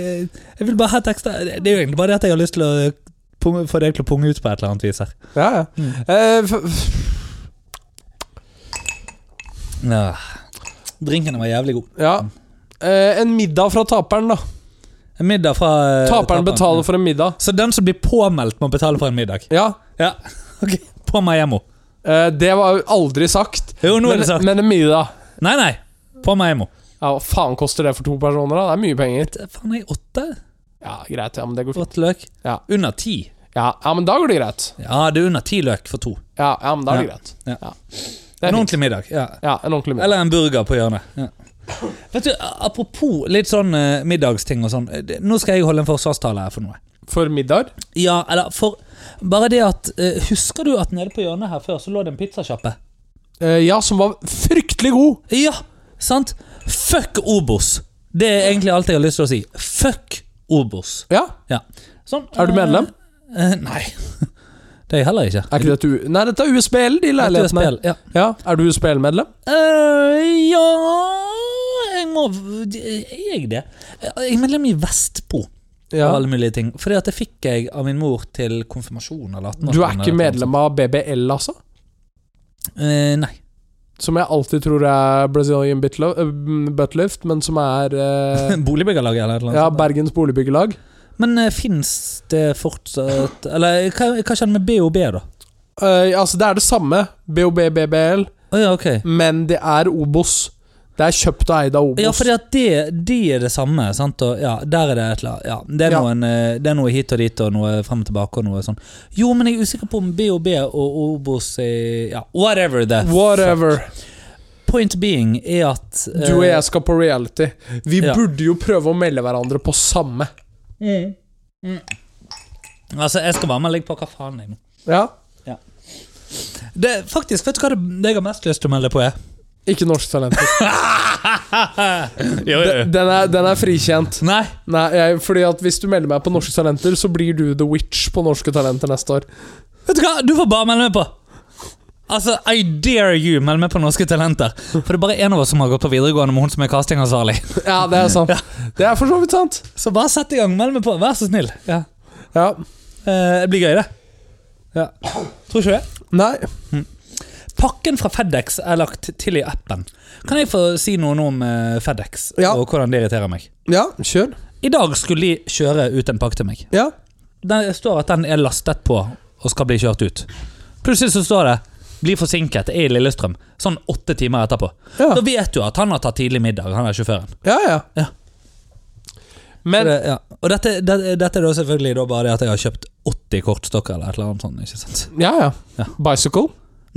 [SPEAKER 2] jeg vil bare ha et ekstra Det er jo egentlig bare det at jeg har lyst til å punge, få deg til å punge ut på et eller annet vis her.
[SPEAKER 1] Ja, ja.
[SPEAKER 2] Mm.
[SPEAKER 1] Eh, f- f-
[SPEAKER 2] Ja. Drinkene var jævlig god.
[SPEAKER 1] Ja. Eh, en middag fra taperen, da.
[SPEAKER 2] Eh, En middag fra eh,
[SPEAKER 1] Taperen betaler for en middag.
[SPEAKER 2] Så den som blir påmeldt, må betale for en middag?
[SPEAKER 1] Ja.
[SPEAKER 2] Ja. <laughs> ok På Maiemo.
[SPEAKER 1] Eh, det var jo aldri sagt.
[SPEAKER 2] Jo, nå er
[SPEAKER 1] men,
[SPEAKER 2] det sagt.
[SPEAKER 1] men en middag
[SPEAKER 2] Nei, nei. På Maiemo.
[SPEAKER 1] Ja, Hva faen koster det for to personer? da? Det er mye penger.
[SPEAKER 2] Det er Faen, er jeg åtte?
[SPEAKER 1] Ja, greit. Ja, men det går fint.
[SPEAKER 2] Åtte løk?
[SPEAKER 1] Ja.
[SPEAKER 2] Under ti.
[SPEAKER 1] Ja, ja men da går det greit.
[SPEAKER 2] Ja, det er under ti løk for to.
[SPEAKER 1] Ja, ja men da er det
[SPEAKER 2] Ja.
[SPEAKER 1] greit.
[SPEAKER 2] Ja.
[SPEAKER 1] Det er
[SPEAKER 2] En
[SPEAKER 1] fint.
[SPEAKER 2] ordentlig middag. Ja.
[SPEAKER 1] Ja, en ordentlig middag.
[SPEAKER 2] Eller en burger på hjørnet. Ja. Vet du, Apropos litt sånn eh, middagsting og sånn. eh, det- Nå skal jeg holde en forsvarstale her for noe.
[SPEAKER 1] For middag?
[SPEAKER 2] Ja, eller for Bare det at eh, Husker du at nede på hjørnet her før så lå det en pizzasjappe?
[SPEAKER 1] Eh, ja, som var fryktelig god.
[SPEAKER 2] Ja, sant? Fuck Obos. Det er egentlig alt jeg har lyst til å si. Fuck Obos.
[SPEAKER 1] Ja,
[SPEAKER 2] Ja. Sånn,
[SPEAKER 1] Er du medlem?
[SPEAKER 2] eh, eh, nei. Det er jeg heller ikke.
[SPEAKER 1] Er ikke dette U... Nei, dette er USBL, de
[SPEAKER 2] Dette er
[SPEAKER 1] leilighetene.
[SPEAKER 2] spill, ja.
[SPEAKER 1] Ja, Er du USBL-medlem?
[SPEAKER 2] Eh, ja Jeg må Er jeg det? Eh, Jeg er medlem i Vestpå.
[SPEAKER 1] Ja.
[SPEAKER 2] Og alle mulige ting. Fordi at det fikk jeg av min mor til konfirmasjon. Eller 18
[SPEAKER 1] Du er ikke medlem av BBL, altså?
[SPEAKER 2] Eh, nei.
[SPEAKER 1] Som jeg alltid tror er Brazilian Bitlo- eh, Buttlift, men som er eh,
[SPEAKER 2] <laughs> Boligbyggerlaget eller et eller annet.
[SPEAKER 1] Ja,
[SPEAKER 2] sånt.
[SPEAKER 1] Bergens Boligbyggelag.
[SPEAKER 2] Men uh, fins det fortsatt Eller eh, hva, hva skjedde med BOB, da?
[SPEAKER 1] Eh, altså, det er det samme, BOB-BBL,
[SPEAKER 2] Å ja, ok.
[SPEAKER 1] men det er Obos. Det er kjøpt og eid av Obos.
[SPEAKER 2] Ja, fordi at det, det er det samme. sant? Og ja, Der er det et eller annet. Ja, det, er
[SPEAKER 1] Ja.
[SPEAKER 2] noen, eh, det er noe hit og dit og noe frem og tilbake. og noe sånn. Jo, men jeg er usikker på om BOB og Obos er ja, Whatever the
[SPEAKER 1] Whatever.
[SPEAKER 2] Point being er at eh,
[SPEAKER 1] Du og jeg skal på reality. Vi
[SPEAKER 2] Ja.
[SPEAKER 1] burde jo prøve å melde hverandre på samme.
[SPEAKER 2] eh, mm. Altså, jeg skal være med og ligge på hva faen jeg nå.
[SPEAKER 1] Ja?
[SPEAKER 2] Det, er faktisk, vet du hva det, det jeg har mest lyst til å melde på, er?
[SPEAKER 1] Ikke norsk talent.
[SPEAKER 2] Jo, <laughs>
[SPEAKER 1] Den er, den er frikjent.
[SPEAKER 2] Nei.
[SPEAKER 1] Nei, jeg, fordi at Hvis du melder meg på Norske Talenter, så blir du The Witch på Norske Talenter neste år. <laughs>
[SPEAKER 2] Vet du hva, du får bare melde meg på! Altså, I dare you, meld meg på Norske Talenter. For det er bare én av oss som har gått på videregående med hun som er castingansvarlig.
[SPEAKER 1] Ja, det er sant. Det er for så vidt sant.
[SPEAKER 2] Så bare sett i gang, meld meg på, vær så snill. Ja.
[SPEAKER 1] Ja.
[SPEAKER 2] Eh, det blir gøy, det. Ja. Tror ikke det?
[SPEAKER 1] Nei.
[SPEAKER 2] Pakken fra Fedex er lagt til i appen. Kan jeg få si noe nå om eh, Fedex
[SPEAKER 1] Ja.
[SPEAKER 2] og hvordan det irriterer meg?
[SPEAKER 1] Ja, kjør.
[SPEAKER 2] I dag skulle de kjøre ut en pakke til meg.
[SPEAKER 1] Ja.
[SPEAKER 2] Det står at den er lastet på og skal bli kjørt ut. Plutselig så står det 'blir forsinket, er i Lillestrøm'. Sånn åtte timer etterpå.
[SPEAKER 1] Ja.
[SPEAKER 2] Da vet du at han har tatt tidlig middag, han er sjåføren.
[SPEAKER 1] Ja, ja.
[SPEAKER 2] Ja. Så
[SPEAKER 1] Men
[SPEAKER 2] det, ja. Og dette, det, dette er da selvfølgelig da bare det at jeg har kjøpt 80 kortstokker eller et eller annet sånt. ikke sant?
[SPEAKER 1] Ja, ja.
[SPEAKER 2] Ja.
[SPEAKER 1] Bicycle.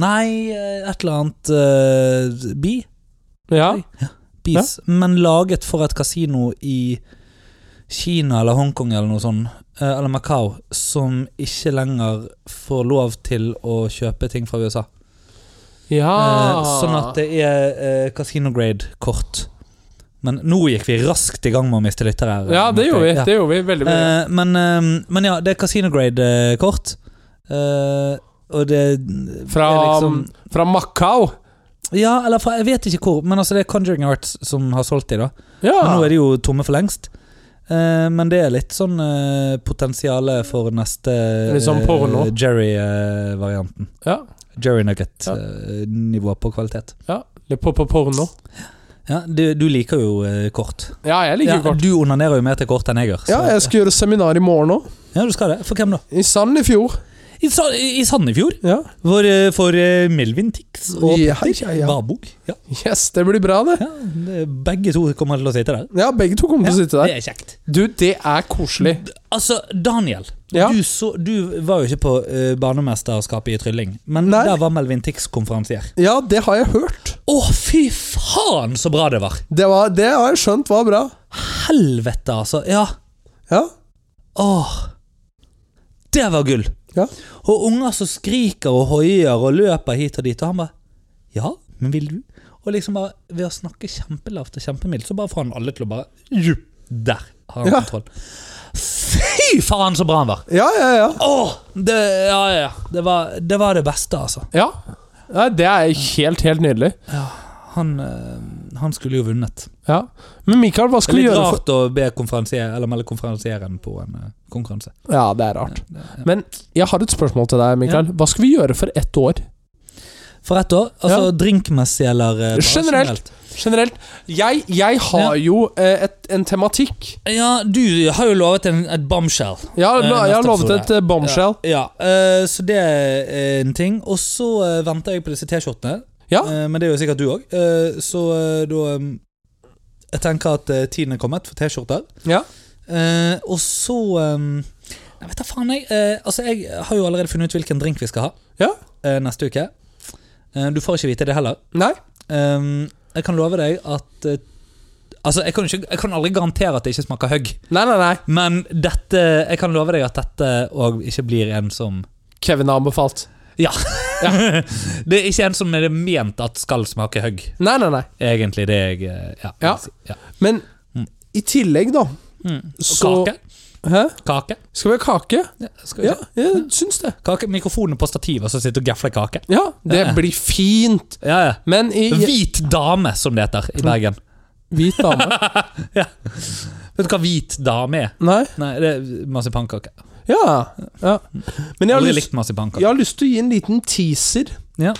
[SPEAKER 2] Nei, eh, et eller annet eh, bi.
[SPEAKER 1] Ja.
[SPEAKER 2] Bis. Men laget for et kasino i Kina eller Hongkong eller noe sånt, eh, eller Macau, som ikke lenger får lov til å kjøpe ting fra USA.
[SPEAKER 1] ja.
[SPEAKER 2] Eh,
[SPEAKER 1] Ah.
[SPEAKER 2] Sånn at det er eh, casino grade kort. Men nå gikk vi raskt i gang med å miste lyttere. her.
[SPEAKER 1] Ja, det gjorde vi.
[SPEAKER 2] Ja.
[SPEAKER 1] Det gjorde vi veldig mye.
[SPEAKER 2] Eh, men, eh, men ja, det er casino grade eh, kort. Eh, og det
[SPEAKER 1] Fra, um,
[SPEAKER 2] det er liksom,
[SPEAKER 1] fra Macau.
[SPEAKER 2] Ja, eller fra, jeg vet ikke hvor, men altså det er Conjuring Arts som har solgt de, da.
[SPEAKER 1] Ja.
[SPEAKER 2] Men nå er de jo tomme for lengst. Eh, men det er litt sånn eh, potensiale for neste eh,
[SPEAKER 1] Litt sånn porno.
[SPEAKER 2] Jerry-varianten.
[SPEAKER 1] ja.
[SPEAKER 2] Jerry Nugget-nivå
[SPEAKER 1] Ja.
[SPEAKER 2] på kvalitet.
[SPEAKER 1] ja. Litt på, på porno.
[SPEAKER 2] Ja, du, du liker jo eh, kort.
[SPEAKER 1] Ja, jeg liker
[SPEAKER 2] Ja,
[SPEAKER 1] kort.
[SPEAKER 2] Du onanerer jo mer til kort enn jeg gjør. så-
[SPEAKER 1] Ja, jeg skal gjøre seminar i morgen òg.
[SPEAKER 2] ja, du skal det. For hvem da?
[SPEAKER 1] I Sand i fjor.
[SPEAKER 2] I, Sa- i Sandefjord.
[SPEAKER 1] Ja.
[SPEAKER 2] For, eh, for eh, Melvin Tix og
[SPEAKER 1] Ja,
[SPEAKER 2] Petter
[SPEAKER 1] ja, ja.
[SPEAKER 2] Vabog. Ja.
[SPEAKER 1] Yes, det blir bra, det.
[SPEAKER 2] Ja, det- begge to kommer til å sitte der.
[SPEAKER 1] Ja, begge to kommer til å sitte der.
[SPEAKER 2] Det er kjekt.
[SPEAKER 1] Du, det er koselig.
[SPEAKER 2] Altså, Daniel.
[SPEAKER 1] Ja.
[SPEAKER 2] Du, så, du var jo ikke på eh, barnemesterskapet i Trylling, men
[SPEAKER 1] Nei.
[SPEAKER 2] der var Melvin Tix konferansier.
[SPEAKER 1] Ja, det har jeg hørt.
[SPEAKER 2] Å, fy faen så bra det var!
[SPEAKER 1] Det, var, det har jeg skjønt var bra.
[SPEAKER 2] Helvete, altså. Ja.
[SPEAKER 1] Ja.
[SPEAKER 2] Åh. Det var gull!
[SPEAKER 1] Ja.
[SPEAKER 2] Og unger som skriker og hoier og løper hit og dit, og han bare Ja, men vil du? Og liksom bare ved å snakke kjempelavt og kjempemildt, så bare får han alle til å bare «Jupp, Der har han
[SPEAKER 1] Ja.
[SPEAKER 2] kontroll. Fy faen så bra han var!
[SPEAKER 1] Ja, ja, ja.
[SPEAKER 2] Åh, det, ja, ja, ja. Det, var, det var det beste, altså.
[SPEAKER 1] ja. Nei, det er helt, helt nydelig.
[SPEAKER 2] Han, eh, han skulle jo vunnet.
[SPEAKER 1] Ja. Men Mikael, hva
[SPEAKER 2] Det er
[SPEAKER 1] skal vi
[SPEAKER 2] litt
[SPEAKER 1] gjøre for
[SPEAKER 2] rart å be konferansier, eller melde konferansieren på en eh, konkurranse.
[SPEAKER 1] Ja, det er rart.
[SPEAKER 2] Det- ja.
[SPEAKER 1] Men jeg har et spørsmål til deg, Mikael. Hva skal vi gjøre for ett år?
[SPEAKER 2] For ett år, altså drinkmessig eller eh, bare
[SPEAKER 1] Generelt. generelt. Jeg, jeg har jo eh, et, en tematikk.
[SPEAKER 2] Ja, du har jo lovet en, et bombshell.
[SPEAKER 1] Jeg har,
[SPEAKER 2] Eh,
[SPEAKER 1] la- jeg har
[SPEAKER 2] neste
[SPEAKER 1] lovet
[SPEAKER 2] episode.
[SPEAKER 1] et eh, bombshell.
[SPEAKER 2] Ja, eh, Så det er en ting. Og så eh, venter jeg på disse T-skjortene.
[SPEAKER 1] Ja.
[SPEAKER 2] Eh, men det er jo sikkert du òg. så eh, da eh, Jeg tenker at eh, tiden er kommet for T-skjorter.
[SPEAKER 1] Ja.
[SPEAKER 2] Eh, og så eh, Jeg vet da faen, jeg. eh, altså, jeg har jo allerede funnet ut hvilken drink vi skal ha
[SPEAKER 1] Ja.
[SPEAKER 2] eh, neste uke. Eh, du får ikke vite det heller.
[SPEAKER 1] Nei.
[SPEAKER 2] Eh, jeg kan love deg at eh, Altså, jeg kan, ikke, jeg kan aldri garantere at det ikke smaker hugg.
[SPEAKER 1] Nei, nei, nei.
[SPEAKER 2] Men dette, jeg kan love deg at dette òg ikke blir en som
[SPEAKER 1] Kevin har anbefalt.
[SPEAKER 2] Ja. det er ikke en som er ment at skal smake hugg.
[SPEAKER 1] Nei, nei, nei.
[SPEAKER 2] Egentlig det jeg eh, Ja.
[SPEAKER 1] Ja.
[SPEAKER 2] ja.
[SPEAKER 1] Men i tillegg, da, så
[SPEAKER 2] Mm. Kake.
[SPEAKER 1] Hæ?
[SPEAKER 2] Kake. Mm.
[SPEAKER 1] Skal vi ha kake?
[SPEAKER 2] Ja, skal vi
[SPEAKER 1] Ja,
[SPEAKER 2] se.
[SPEAKER 1] jeg syns det.
[SPEAKER 2] kake. Mikrofonen på stativet som sitter og gafler kake.
[SPEAKER 1] Ja, det
[SPEAKER 2] Ja, ja.
[SPEAKER 1] blir fint.
[SPEAKER 2] Ja, ja.
[SPEAKER 1] Men i i-
[SPEAKER 2] Hvit dame, som det heter i Bergen.
[SPEAKER 1] Hvit
[SPEAKER 2] <laughs>
[SPEAKER 1] dame?
[SPEAKER 2] Vet du hva hvit dame er?
[SPEAKER 1] Nei?
[SPEAKER 2] Nei, det er marsipankake.
[SPEAKER 1] Ja. ja. Men jeg har,
[SPEAKER 2] Aldri
[SPEAKER 1] lyst,
[SPEAKER 2] likt marsipankake.
[SPEAKER 1] jeg har lyst til å gi en liten teaser
[SPEAKER 2] Ja.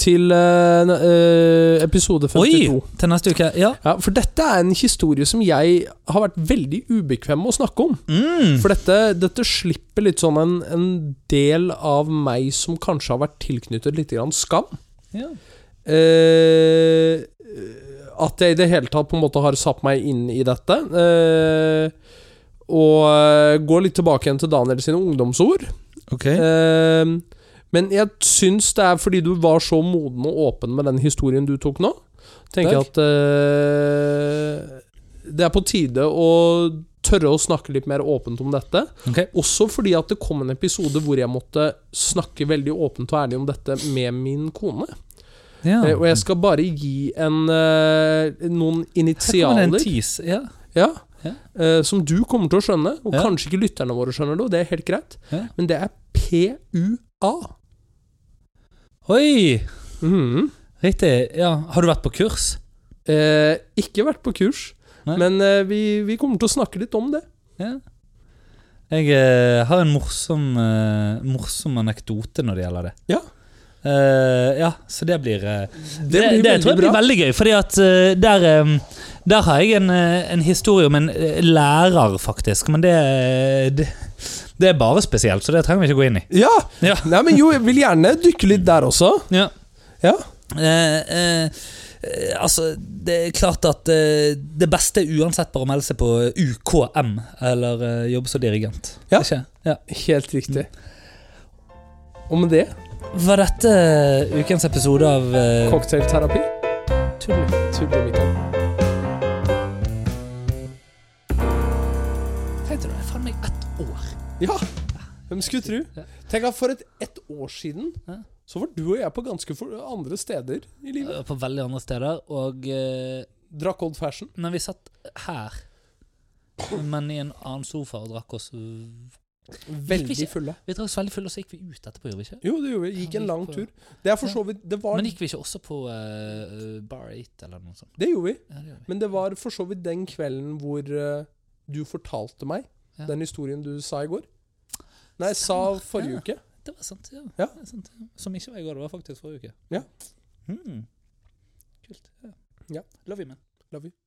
[SPEAKER 1] til eh, ne- eh, episode 52.
[SPEAKER 2] Oi! Til neste uke. Ja.
[SPEAKER 1] Ja, For dette er en historie som jeg har vært veldig ubekvem med å snakke om.
[SPEAKER 2] Mm.
[SPEAKER 1] For dette, dette slipper litt sånn en, en del av meg som kanskje har vært tilknyttet litt grann skam.
[SPEAKER 2] ja.
[SPEAKER 1] Eh, at jeg i det hele tatt på en måte har satt meg inn i dette. Eh, og eh, går litt tilbake igjen til Daniel sine ungdomsord.
[SPEAKER 2] Ok.
[SPEAKER 1] Eh, men jeg syns det er fordi du var så moden og åpen med den historien du tok nå. Tenker jeg at eh, det er på tide å tørre å snakke litt mer åpent om dette.
[SPEAKER 2] Ok.
[SPEAKER 1] Også fordi at det kom en episode hvor jeg måtte snakke veldig åpent og ærlig om dette med min kone.
[SPEAKER 2] Ja.
[SPEAKER 1] Eh, Og jeg skal bare gi en, eh, noen
[SPEAKER 2] Her kommer det en
[SPEAKER 1] initialer
[SPEAKER 2] tease. Ja.
[SPEAKER 1] ja,
[SPEAKER 2] Ja.
[SPEAKER 1] eh, som du kommer til å skjønne. Og
[SPEAKER 2] Ja.
[SPEAKER 1] kanskje ikke lytterne våre skjønner det, og det er helt greit.
[SPEAKER 2] Ja.
[SPEAKER 1] Men det er PUA.
[SPEAKER 2] Oi!
[SPEAKER 1] Mhm.
[SPEAKER 2] Riktig. ja Har du vært på kurs?
[SPEAKER 1] Eh, ikke vært på kurs,
[SPEAKER 2] Nei.
[SPEAKER 1] men eh, vi, vi kommer til å snakke litt om det.
[SPEAKER 2] Ja. Jeg eh, har en morsom, eh, morsom anekdote når det gjelder det.
[SPEAKER 1] Ja.
[SPEAKER 2] Eh, ja, så det blir eh, Det, det,
[SPEAKER 1] blir veldig
[SPEAKER 2] tror jeg blir
[SPEAKER 1] bra.
[SPEAKER 2] veldig gøy, fordi at eh, der eh, der har jeg en, eh, en historie om en eh, lærer, faktisk. Men det, eh, det, det er bare spesielt, så det trenger vi ikke gå inn i.
[SPEAKER 1] Ja!
[SPEAKER 2] Ja.
[SPEAKER 1] Nei, men jo, jeg vil gjerne dykke litt der også.
[SPEAKER 2] Ja.
[SPEAKER 1] Ja.
[SPEAKER 2] Eh, eh, eh, altså, det er klart at eh, det beste er uansett bare å melde seg på UKM, eller eh, jobbe som dirigent.
[SPEAKER 1] Ja.
[SPEAKER 2] Ikke? ja.
[SPEAKER 1] Helt riktig. Og med det
[SPEAKER 2] Var dette eh, ukens episode av eh,
[SPEAKER 1] cocktailterapi.
[SPEAKER 2] Tull?
[SPEAKER 1] Tuller vi ikke.
[SPEAKER 2] Tenkte du det? Faen meg ett år.
[SPEAKER 1] Ja! Hvem skulle tro?
[SPEAKER 2] Ja.
[SPEAKER 1] Tenk at for et ett år siden
[SPEAKER 2] Ja.
[SPEAKER 1] så var du og jeg på ganske for andre steder i
[SPEAKER 2] Jeg
[SPEAKER 1] livet.
[SPEAKER 2] var På veldig andre steder. Og eh,
[SPEAKER 1] Drakk old fashion.
[SPEAKER 2] Når vi satt her, men i en annen sofa og drakk oss Vi
[SPEAKER 1] Veldig
[SPEAKER 2] ikke-
[SPEAKER 1] fulle.
[SPEAKER 2] drakk oss veldig fulle, og så gikk vi ut etterpå, gjorde vi ikke?
[SPEAKER 1] Jo, det gjorde vi. Gikk
[SPEAKER 2] Ja, vi
[SPEAKER 1] en
[SPEAKER 2] gikk
[SPEAKER 1] lang
[SPEAKER 2] på-
[SPEAKER 1] tur. Det er for så vidt Det var
[SPEAKER 2] Men gikk vi ikke også på eh, Bar 8 eller noe sånt?
[SPEAKER 1] Det gjorde vi.
[SPEAKER 2] Ja, det gjorde vi.
[SPEAKER 1] Men det var for så vidt den kvelden hvor eh, du fortalte meg
[SPEAKER 2] Ja.
[SPEAKER 1] den historien du sa i går. Nei, sa
[SPEAKER 2] Stemmer, ja.
[SPEAKER 1] forrige uke.
[SPEAKER 2] Det var sant, ja.
[SPEAKER 1] Ja.
[SPEAKER 2] Det er sant, ja. Som ikke var i går, det var faktisk forrige uke.
[SPEAKER 1] Ja.
[SPEAKER 2] Hmm. Kult. Ja.
[SPEAKER 1] Ja.
[SPEAKER 2] Love you, man.
[SPEAKER 1] Love you.